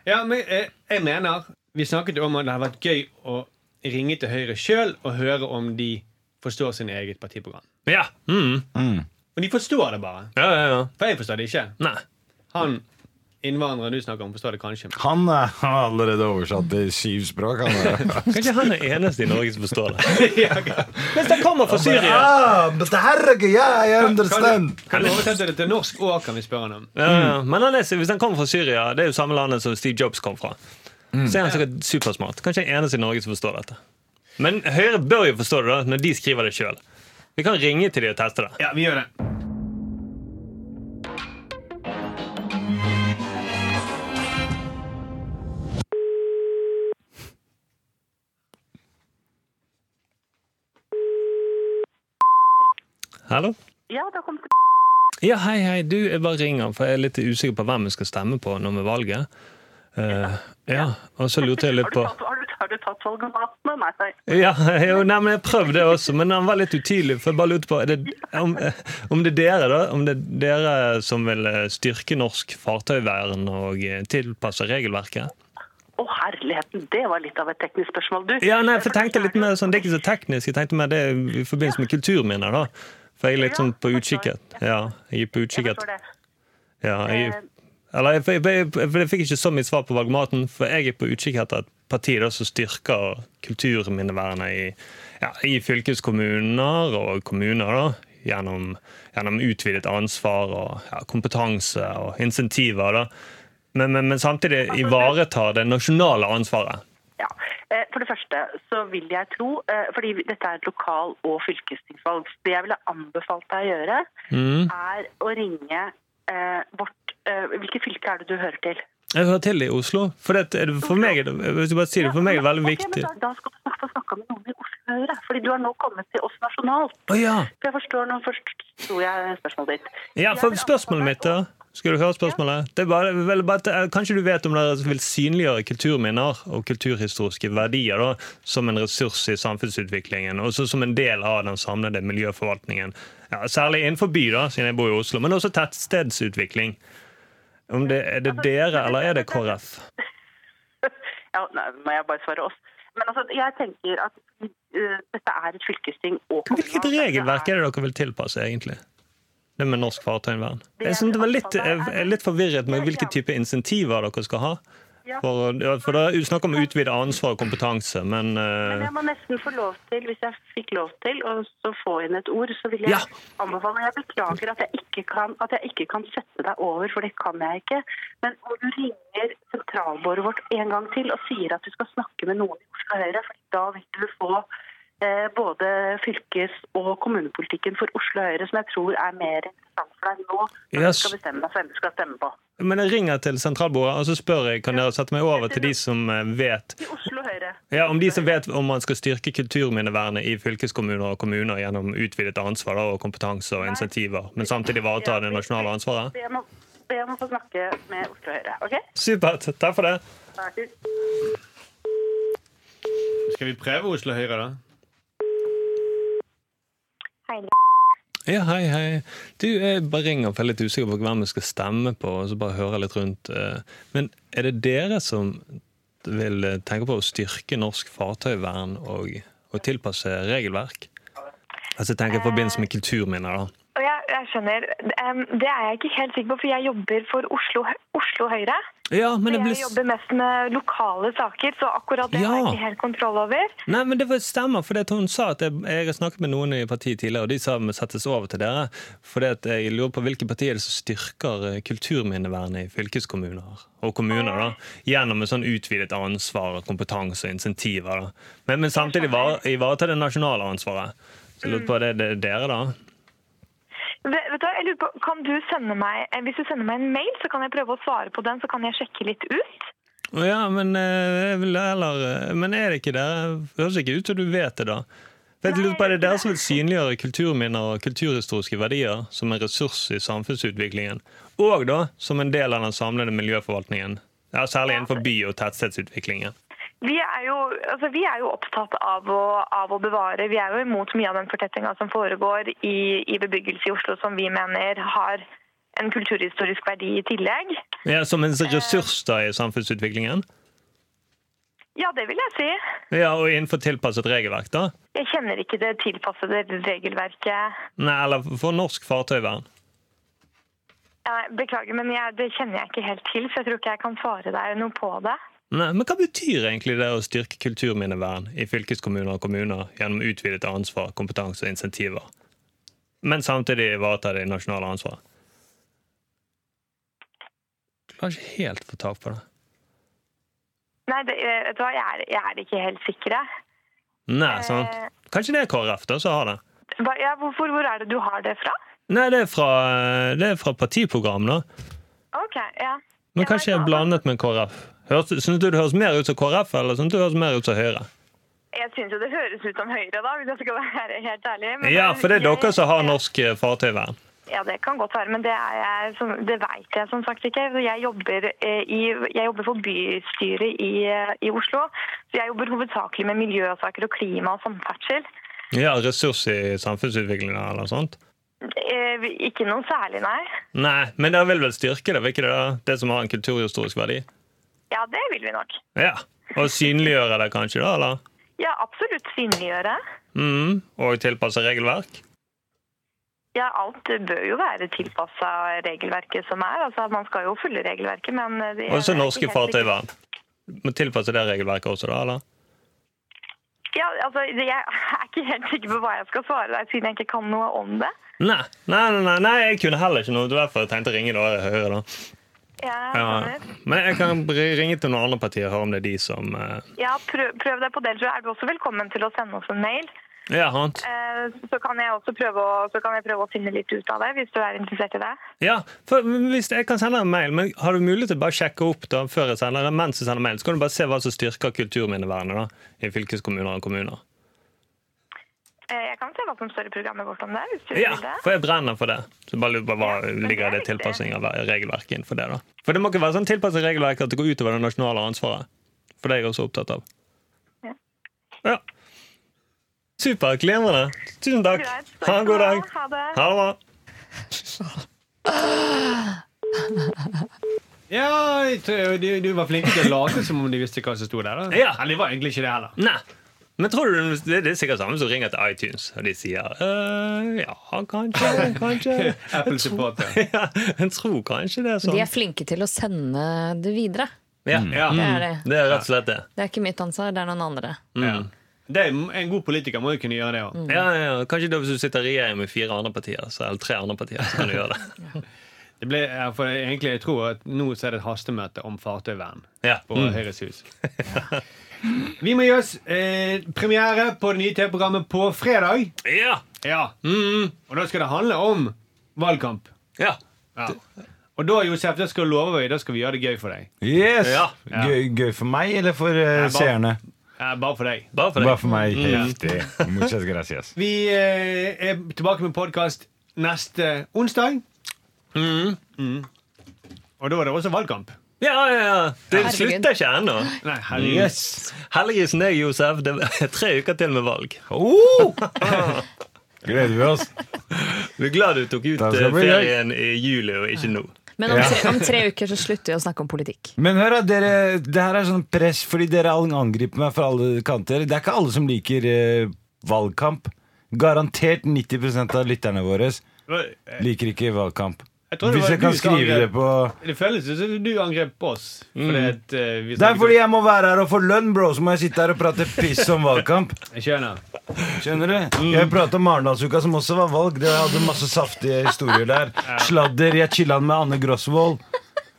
[SPEAKER 2] Ja, men eh, jeg mener Vi snakket jo om at det hadde vært gøy å ringe til Høyre sjøl og høre om de forstår sin eget partiprogram.
[SPEAKER 5] Ja. Mm.
[SPEAKER 2] Og de forstår det bare.
[SPEAKER 5] ja, ja, ja.
[SPEAKER 2] For jeg forstår det ikke.
[SPEAKER 5] Nei.
[SPEAKER 2] Han innvandreren du snakker om, forstår det kanskje.
[SPEAKER 4] Han er han har allerede oversatt til syv språk. Han er.
[SPEAKER 5] Kanskje han er eneste i Norge som forstår det.
[SPEAKER 2] Ja, ok.
[SPEAKER 5] Hvis han kommer fra Syria
[SPEAKER 4] Ah, but herregud, yeah, I
[SPEAKER 2] Kan
[SPEAKER 4] understand.
[SPEAKER 2] du, kan du oversette det til norsk òg, kan vi spørre han om?
[SPEAKER 5] Ja, ja. Men han er, hvis han kommer fra Syria, det er jo samme landet som Steve Jobs kom fra, så er han sikkert supersmart. Kanskje den eneste i Norge som forstår dette. Men Høyre bør jo forstå det da, når de skriver det sjøl. Vi kan ringe til de og teste det.
[SPEAKER 2] Ja, vi gjør det.
[SPEAKER 5] Hallo?
[SPEAKER 1] Ja, da kom
[SPEAKER 5] Ja, hei, hei. Du, jeg bare ringer, for jeg er litt usikker på hvem jeg skal stemme på nå med valget. Eh, ja, og så lurte jeg litt på
[SPEAKER 1] Har du tatt, har du, har du tatt valgomatene? Nei, nei.
[SPEAKER 5] Ja, jo, nei, men jeg prøvde det også, men han var litt utydelig. For jeg bare lurte på er det, om, eh, om det er dere da, om det er dere som vil eh, styrke norsk fartøyvern og eh, tilpasse regelverket?
[SPEAKER 1] Å herligheten, det var litt av et teknisk spørsmål, du.
[SPEAKER 5] Ja, nei, for jeg tenkte litt mer sånn, Det er ikke så teknisk. Jeg tenkte mer det er i forbindelse med kulturminner, da. For jeg er litt sånn på utkikk et- Ja, jeg er på
[SPEAKER 1] Jeg
[SPEAKER 5] utkikk et-
[SPEAKER 1] forstår det.
[SPEAKER 5] ja,
[SPEAKER 1] Eh.
[SPEAKER 5] jeg, Eller jeg, for jeg, jeg, for jeg fikk ikke så mye svar på valgmaten, for jeg er på utkikk etter et parti da, som styrker kulturminnevernet i, ja, i fylkeskommuner og kommuner. da, Gjennom, gjennom utvidet ansvar og ja, kompetanse og insentiver. da. Men, men, men samtidig ivaretar det nasjonale ansvaret.
[SPEAKER 1] Ja. Eh, For det første så vil jeg tro, eh, fordi dette er et lokal- og fylkestingsvalg, så det jeg ville anbefalt deg å gjøre,
[SPEAKER 5] Mm.
[SPEAKER 1] er å ringe eh, vårt eh, Hvilket fylke er det du hører til?
[SPEAKER 5] Jeg hører til i Oslo. For, det, er det- for, meg, er det, hvis jeg bare sier det, for meg er det veldig
[SPEAKER 1] Ok, men
[SPEAKER 5] viktig.
[SPEAKER 1] da, da skal du snakke, få snakke med noen i Oslo Høyre, fordi du har nå kommet til oss nasjonalt.
[SPEAKER 5] Å ja.
[SPEAKER 1] For jeg forstår nå først, tror jeg, spørsmålet ditt.
[SPEAKER 5] Ja,
[SPEAKER 1] Jeg
[SPEAKER 5] for
[SPEAKER 1] vil anbefale
[SPEAKER 5] spørsmålet
[SPEAKER 1] deg
[SPEAKER 5] mitt da Skal du høre spørsmålet? Det er bare, vel, bare, at, eh, kanskje du vet om dere vil synliggjøre kulturminner og kulturhistoriske verdier da, som en ressurs i samfunnsutviklingen, og så som en del av den samlede miljøforvaltningen. Ja, særlig innenfor by, da, siden jeg bor i Oslo, men også tettstedsutvikling. Om det, er det dere, eller er det KrF?
[SPEAKER 1] ja, nei, må jeg bare svare oss. Men altså, jeg tenker at eh, dette er et fylkesting og altså.
[SPEAKER 5] Hvilket
[SPEAKER 1] kommunalt.
[SPEAKER 5] regelverk er det dere vil tilpasse, egentlig? Det med norsk fartøyvern. Jeg synes det var litt, jeg er litt forvirret med hvilke type insentiver dere skal ha. For, ja, for det er snakk om å utvide ansvar og kompetanse, men
[SPEAKER 1] Men
[SPEAKER 5] eh,
[SPEAKER 1] jeg må nesten få lov til, hvis jeg fikk lov til, å så få inn et ord, så vil jeg
[SPEAKER 5] Ja.
[SPEAKER 1] anbefale Jeg beklager at jeg, ikke kan, at jeg ikke kan sette deg over, for det kan jeg ikke. Men hvor du ringer sentralbordet vårt en gang til og sier at du skal snakke med noen i Oslo Høyre, for da vil du få eh, både fylkes- og kommunepolitikken for Oslo Høyre, som jeg tror er mer interessant for deg nå når
[SPEAKER 5] Yes.
[SPEAKER 1] du skal bestemme deg for hvem du skal stemme på.
[SPEAKER 5] Men jeg ringer til sentralbordet og så spør jeg, kan dere sette meg over til de som eh, vet
[SPEAKER 1] I Oslo Høyre.
[SPEAKER 5] ja, om de som vet om man skal styrke kulturminnevernet i fylkeskommuner og kommuner gjennom utvidet ansvar da, og kompetanse og initiativer, men samtidig ivareta det nasjonale ansvaret?
[SPEAKER 1] Be om å- be om å få snakke med Oslo Høyre. OK?
[SPEAKER 5] Supert! Takk for det.
[SPEAKER 1] Takk.
[SPEAKER 2] Skal vi prøve Oslo Høyre, da?
[SPEAKER 5] Ja, hei, hei. Du, jeg bare ringer for jeg er litt usikker på hvem jeg skal stemme på. og så bare høre litt rundt. eh. Men er det dere som vil eh, tenke på å styrke norsk fartøyvern og, og tilpasse regelverk? Altså, jeg tenker i forbindelse med kulturminner, da.
[SPEAKER 6] Og jeg, jeg skjønner. Em, Det er jeg ikke helt sikker på, for jeg jobber for Oslo, Oslo Høyre.
[SPEAKER 5] Ja, men
[SPEAKER 6] Jeg
[SPEAKER 5] det ble... s-
[SPEAKER 6] jobber mest med lokale saker, så akkurat det har
[SPEAKER 5] Ja.
[SPEAKER 6] jeg ikke helt kontroll over.
[SPEAKER 5] Nei, men det var- stemmer, for hun sa at jeg, jeg har snakket med noen i partiet tidligere, og de sa vi settes over til dere. For jeg lurer på hvilke partier er det som styrker eh, kulturminnevernet i fylkeskommuner og kommuner. da, Gjennom en sånn utvidet ansvar, og kompetanse og insentiver. da. Men, men samtidig var- ivareta det nasjonale ansvaret. Så jeg lurer på, er det, det er dere, da?
[SPEAKER 6] Vet vet du, hva, jeg lurer på, kan du sende meg, eh, Hvis du sender meg en mail, så kan jeg prøve å svare på den, så kan jeg sjekke litt ut.
[SPEAKER 5] Å Ja, men, eh, jeg vil heller, eh, men er det ikke dere? Høres ikke ut som du vet det, da. For jeg lurer på, Er det dere som vil synliggjøre kulturminner og kulturhistoriske verdier som en ressurs i samfunnsutviklingen, og da som en del av den samlede miljøforvaltningen? Ja, Særlig innenfor by- og tettstedsutviklingen.
[SPEAKER 6] Vi er jo, altså, vi er jo opptatt av å, av å bevare. Vi er jo imot mye av den fortettinga som foregår i, i bebyggelse i Oslo, som vi mener har en kulturhistorisk verdi i tillegg.
[SPEAKER 5] Ja, Som en ressurs da i samfunnsutviklingen?
[SPEAKER 6] Ja, det vil jeg si.
[SPEAKER 5] Ja, Og innenfor tilpasset regelverk, da?
[SPEAKER 6] Jeg kjenner ikke det tilpassede regelverket.
[SPEAKER 5] Nei, eller for norsk fartøyvern?
[SPEAKER 6] Nei, Beklager, men jeg, det kjenner jeg ikke helt til, så jeg tror ikke jeg kan svare deg noe på det.
[SPEAKER 5] Nei, men Hva betyr egentlig det å styrke kulturminnevern i fylkeskommuner og kommuner gjennom utvidet ansvar, kompetanse og insentiver, men samtidig ivareta det nasjonale ansvaret? Klarer ikke helt få tak på det.
[SPEAKER 6] Nei, det, eh, vet du hva, jeg er, jeg er ikke helt sikker. jeg.
[SPEAKER 5] Nei, sant? Kanskje det er KrF da, som har det?
[SPEAKER 6] Hva- Ja, hvorfor, hvor er det du har det fra?
[SPEAKER 5] Nei, det er fra, det er fra partiprogram, da.
[SPEAKER 6] Ok, ja.
[SPEAKER 5] Men kanskje jeg er blandet med KrF. Høres- Syns du det høres mer ut som KrF, eller syns du det høres mer ut som Høyre?
[SPEAKER 6] Jeg syns jo det høres ut som Høyre, da, hvis jeg skal være helt ærlig. men-
[SPEAKER 5] Ja, for det er dere som har
[SPEAKER 6] Jeg-
[SPEAKER 5] norsk eh, fartøyvern.
[SPEAKER 6] Ja, det kan godt være, men det, er jeg, som, det vet jeg som sagt ikke. Jeg jobber, eh, i, jeg jobber for bystyret i, eh, i Oslo, så jeg jobber hovedsakelig med miljøsaker og klima og samferdsel.
[SPEAKER 5] Ja, ressurs i samfunnsutviklingen eller sånt.
[SPEAKER 6] Eh, vi- Ikke noe særlig, nei.
[SPEAKER 5] Nei, men dere vil vel styrke det, vil ikke det? da? Det som har en kulturhistorisk verdi?
[SPEAKER 6] Ja, det vil vi nok.
[SPEAKER 5] Ja. Og synliggjøre det kanskje, da? eller?
[SPEAKER 6] Ja, absolutt synliggjøre.
[SPEAKER 5] Mm. Og tilpasse regelverk?
[SPEAKER 6] Ja, alt bør jo være tilpassa regelverket som er. Altså, man skal jo følge regelverket, men eh, det-
[SPEAKER 5] Også
[SPEAKER 6] jeg er
[SPEAKER 5] norske
[SPEAKER 6] ikke helt sikker.
[SPEAKER 5] fartøyvern. Må tilpasse det regelverket også, da? eller?
[SPEAKER 6] Ja, altså, det- jeg er ikke helt sikker på hva jeg skal svare deg, siden jeg ikke kan noe om det.
[SPEAKER 5] Nei, nei, nei, nei, nei jeg kunne heller ikke noe. Det var derfor jeg tenkte å ringe dere høyere. da.
[SPEAKER 6] Jeg
[SPEAKER 5] Ja.
[SPEAKER 6] skjønner.
[SPEAKER 5] Men jeg kan ri- ringe til noen andre partier og høre om det er de som eh,
[SPEAKER 6] Ja, prøv, prøv deg på det. Så er du også velkommen til å sende oss en mail.
[SPEAKER 5] Ja, sant?
[SPEAKER 6] Eh, så kan jeg også prøve å, så kan jeg prøve å finne litt ut av det, hvis du er interessert i det.
[SPEAKER 5] Ja, for hvis jeg kan sende en mail, men har du mulighet til å bare sjekke opp da, før jeg sender, eller mens jeg sender mail, så kan du bare se hva som styrker kulturminnevernet da, i fylkeskommuner og kommuner?
[SPEAKER 6] Eh, jeg kan se hva som står i programmet vårt om det. hvis du
[SPEAKER 5] Ja,
[SPEAKER 6] vil det.
[SPEAKER 5] for jeg brenner for det. Så bare lurer på hva
[SPEAKER 6] men
[SPEAKER 5] ligger
[SPEAKER 6] det
[SPEAKER 5] det
[SPEAKER 6] er viktig.
[SPEAKER 5] tilpassing av regelverket innenfor det da? For det må ikke være sånn tilpasset regelverk at det går utover det nasjonale ansvaret. For det er jeg også opptatt av.
[SPEAKER 6] Ja.
[SPEAKER 5] Ja. Super, glimrende. Tusen takk.
[SPEAKER 6] Greit,
[SPEAKER 5] Ha
[SPEAKER 6] takk skal
[SPEAKER 5] en god
[SPEAKER 6] du ha.
[SPEAKER 5] dag.
[SPEAKER 6] Ha det.
[SPEAKER 5] Ha det bra.
[SPEAKER 2] Ja, jeg tror- du, du var flink til å late som om de visste hva som sto der. da
[SPEAKER 5] Ja.
[SPEAKER 2] Eller det var egentlig ikke det heller.
[SPEAKER 5] Nei. Men tror du det det er sikkert samme som ringer til iTunes, og de sier «Øh, ja, kanskje, kanskje.
[SPEAKER 2] Apple-supporter.
[SPEAKER 5] ja, jeg tror kanskje det er sånn.
[SPEAKER 3] De er flinke til å sende det videre.
[SPEAKER 5] Ja, ja.
[SPEAKER 3] Det er det.
[SPEAKER 5] Det er rett og slett det.
[SPEAKER 3] Det er ikke mitt ansvar, det er noen andre.
[SPEAKER 2] Ja. Mm. Det er, en god politiker må jo kunne gjøre det òg.
[SPEAKER 4] Mm.
[SPEAKER 5] Ja, ja, ja. Kanskje da hvis du sitter i regjering med fire andre partier, så, eller tre andre partier, så kan du gjøre det.
[SPEAKER 2] Det ble, ja, for egentlig, jeg tror at Nå så er det et hastemøte om fartøyvern
[SPEAKER 5] Ja.
[SPEAKER 2] på Høyres hus. Vi må gi oss eh, premiere på det nye TV-programmet på fredag.
[SPEAKER 5] Ja!
[SPEAKER 2] Ja. Og da skal det handle om valgkamp.
[SPEAKER 5] Ja.
[SPEAKER 2] Ja. Og da Josef, det skal jeg love deg, da skal vi gjøre det gøy for deg.
[SPEAKER 4] Yes!
[SPEAKER 5] Ja.
[SPEAKER 4] Gøy, gøy for meg eller for eh,
[SPEAKER 2] bare-
[SPEAKER 4] seerne?
[SPEAKER 2] Eh, bare for deg.
[SPEAKER 5] Bare Mm. for
[SPEAKER 4] Bare
[SPEAKER 5] deg.
[SPEAKER 4] for meg. Heftig. Muchas gracias.
[SPEAKER 2] Vi eh, er tilbake med podkast neste onsdag. Mm. Og da er det også valgkamp.
[SPEAKER 5] Ja, ja, ja. Det
[SPEAKER 3] Herregud.
[SPEAKER 5] slutter ikke ennå.
[SPEAKER 2] Nei, herregud.
[SPEAKER 5] Heldigvis deg, Josef. Det er tre uker til med valg.
[SPEAKER 4] Oh! Gleder vi oss.
[SPEAKER 5] Vi er glad du tok ut
[SPEAKER 4] Da skal
[SPEAKER 5] eh,
[SPEAKER 4] vi-
[SPEAKER 5] ferien i juli og ikke nå.
[SPEAKER 3] Men om tre, om tre uker så slutter vi å snakke om politikk.
[SPEAKER 4] Men hør da, dere, det her er sånn press fordi dere all- angriper meg fra alle kanter. Det er ikke alle som liker eh, valgkamp. Garantert 90 av lytterne våre
[SPEAKER 2] Eh,
[SPEAKER 4] liker ikke valgkamp.
[SPEAKER 2] Jeg tror det
[SPEAKER 4] Hvis
[SPEAKER 2] var
[SPEAKER 4] jeg kan
[SPEAKER 2] du som
[SPEAKER 4] skrive det
[SPEAKER 2] angrep-
[SPEAKER 4] på
[SPEAKER 2] Det føles jo som du angrep oss. Fordi at, eh, vi
[SPEAKER 4] Det er
[SPEAKER 2] snakket-
[SPEAKER 4] fordi jeg må være her og få lønn, bro, så må jeg sitte her og prate piss om valgkamp.
[SPEAKER 2] Jeg skjønner.
[SPEAKER 4] Skjønner du?
[SPEAKER 2] Mm.
[SPEAKER 4] Jeg pratet om Arendalsuka, som også var valg. Det hadde masse saftige historier der. Sladder. Jeg chilla med Anne Grosvold.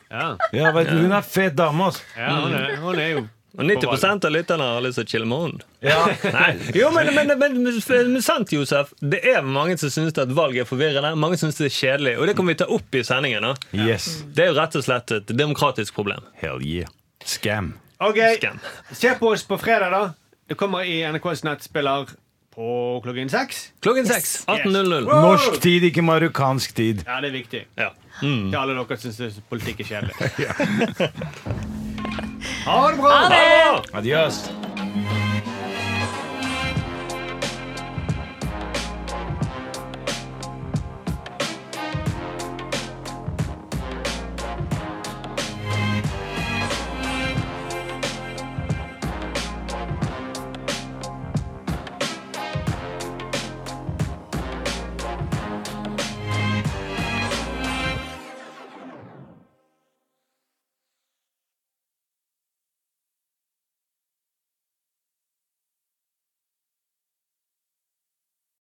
[SPEAKER 2] Ja,
[SPEAKER 4] Ja, vet du, hun er fet dame, ass.
[SPEAKER 2] ja hun, er, hun er jo
[SPEAKER 5] Og 90 av lytterne har lyst til å chille med henne.
[SPEAKER 4] Ja.
[SPEAKER 5] Nei. Jo, men, men, men, men, men sant, Josef. Det er mange som syns at valg er forvirrende. Mange syns det er kjedelig. Og det kan vi ta opp i sendingen. nå.
[SPEAKER 4] Yes.
[SPEAKER 5] Det er jo rett og slett et demokratisk problem.
[SPEAKER 4] Hell yeah. Scam.
[SPEAKER 2] Ok,
[SPEAKER 5] Skam.
[SPEAKER 2] Se på oss på fredag, da. Det kommer i NRKs nettspiller på klokken seks.
[SPEAKER 5] Klokken seks. 18.00.
[SPEAKER 4] Norsk tid, ikke marokkansk tid.
[SPEAKER 2] Ja, det er viktig.
[SPEAKER 5] Ja.
[SPEAKER 2] Til alle dere som syns politikk er kjedelig. ha det bra!
[SPEAKER 5] Ah!
[SPEAKER 4] Adios.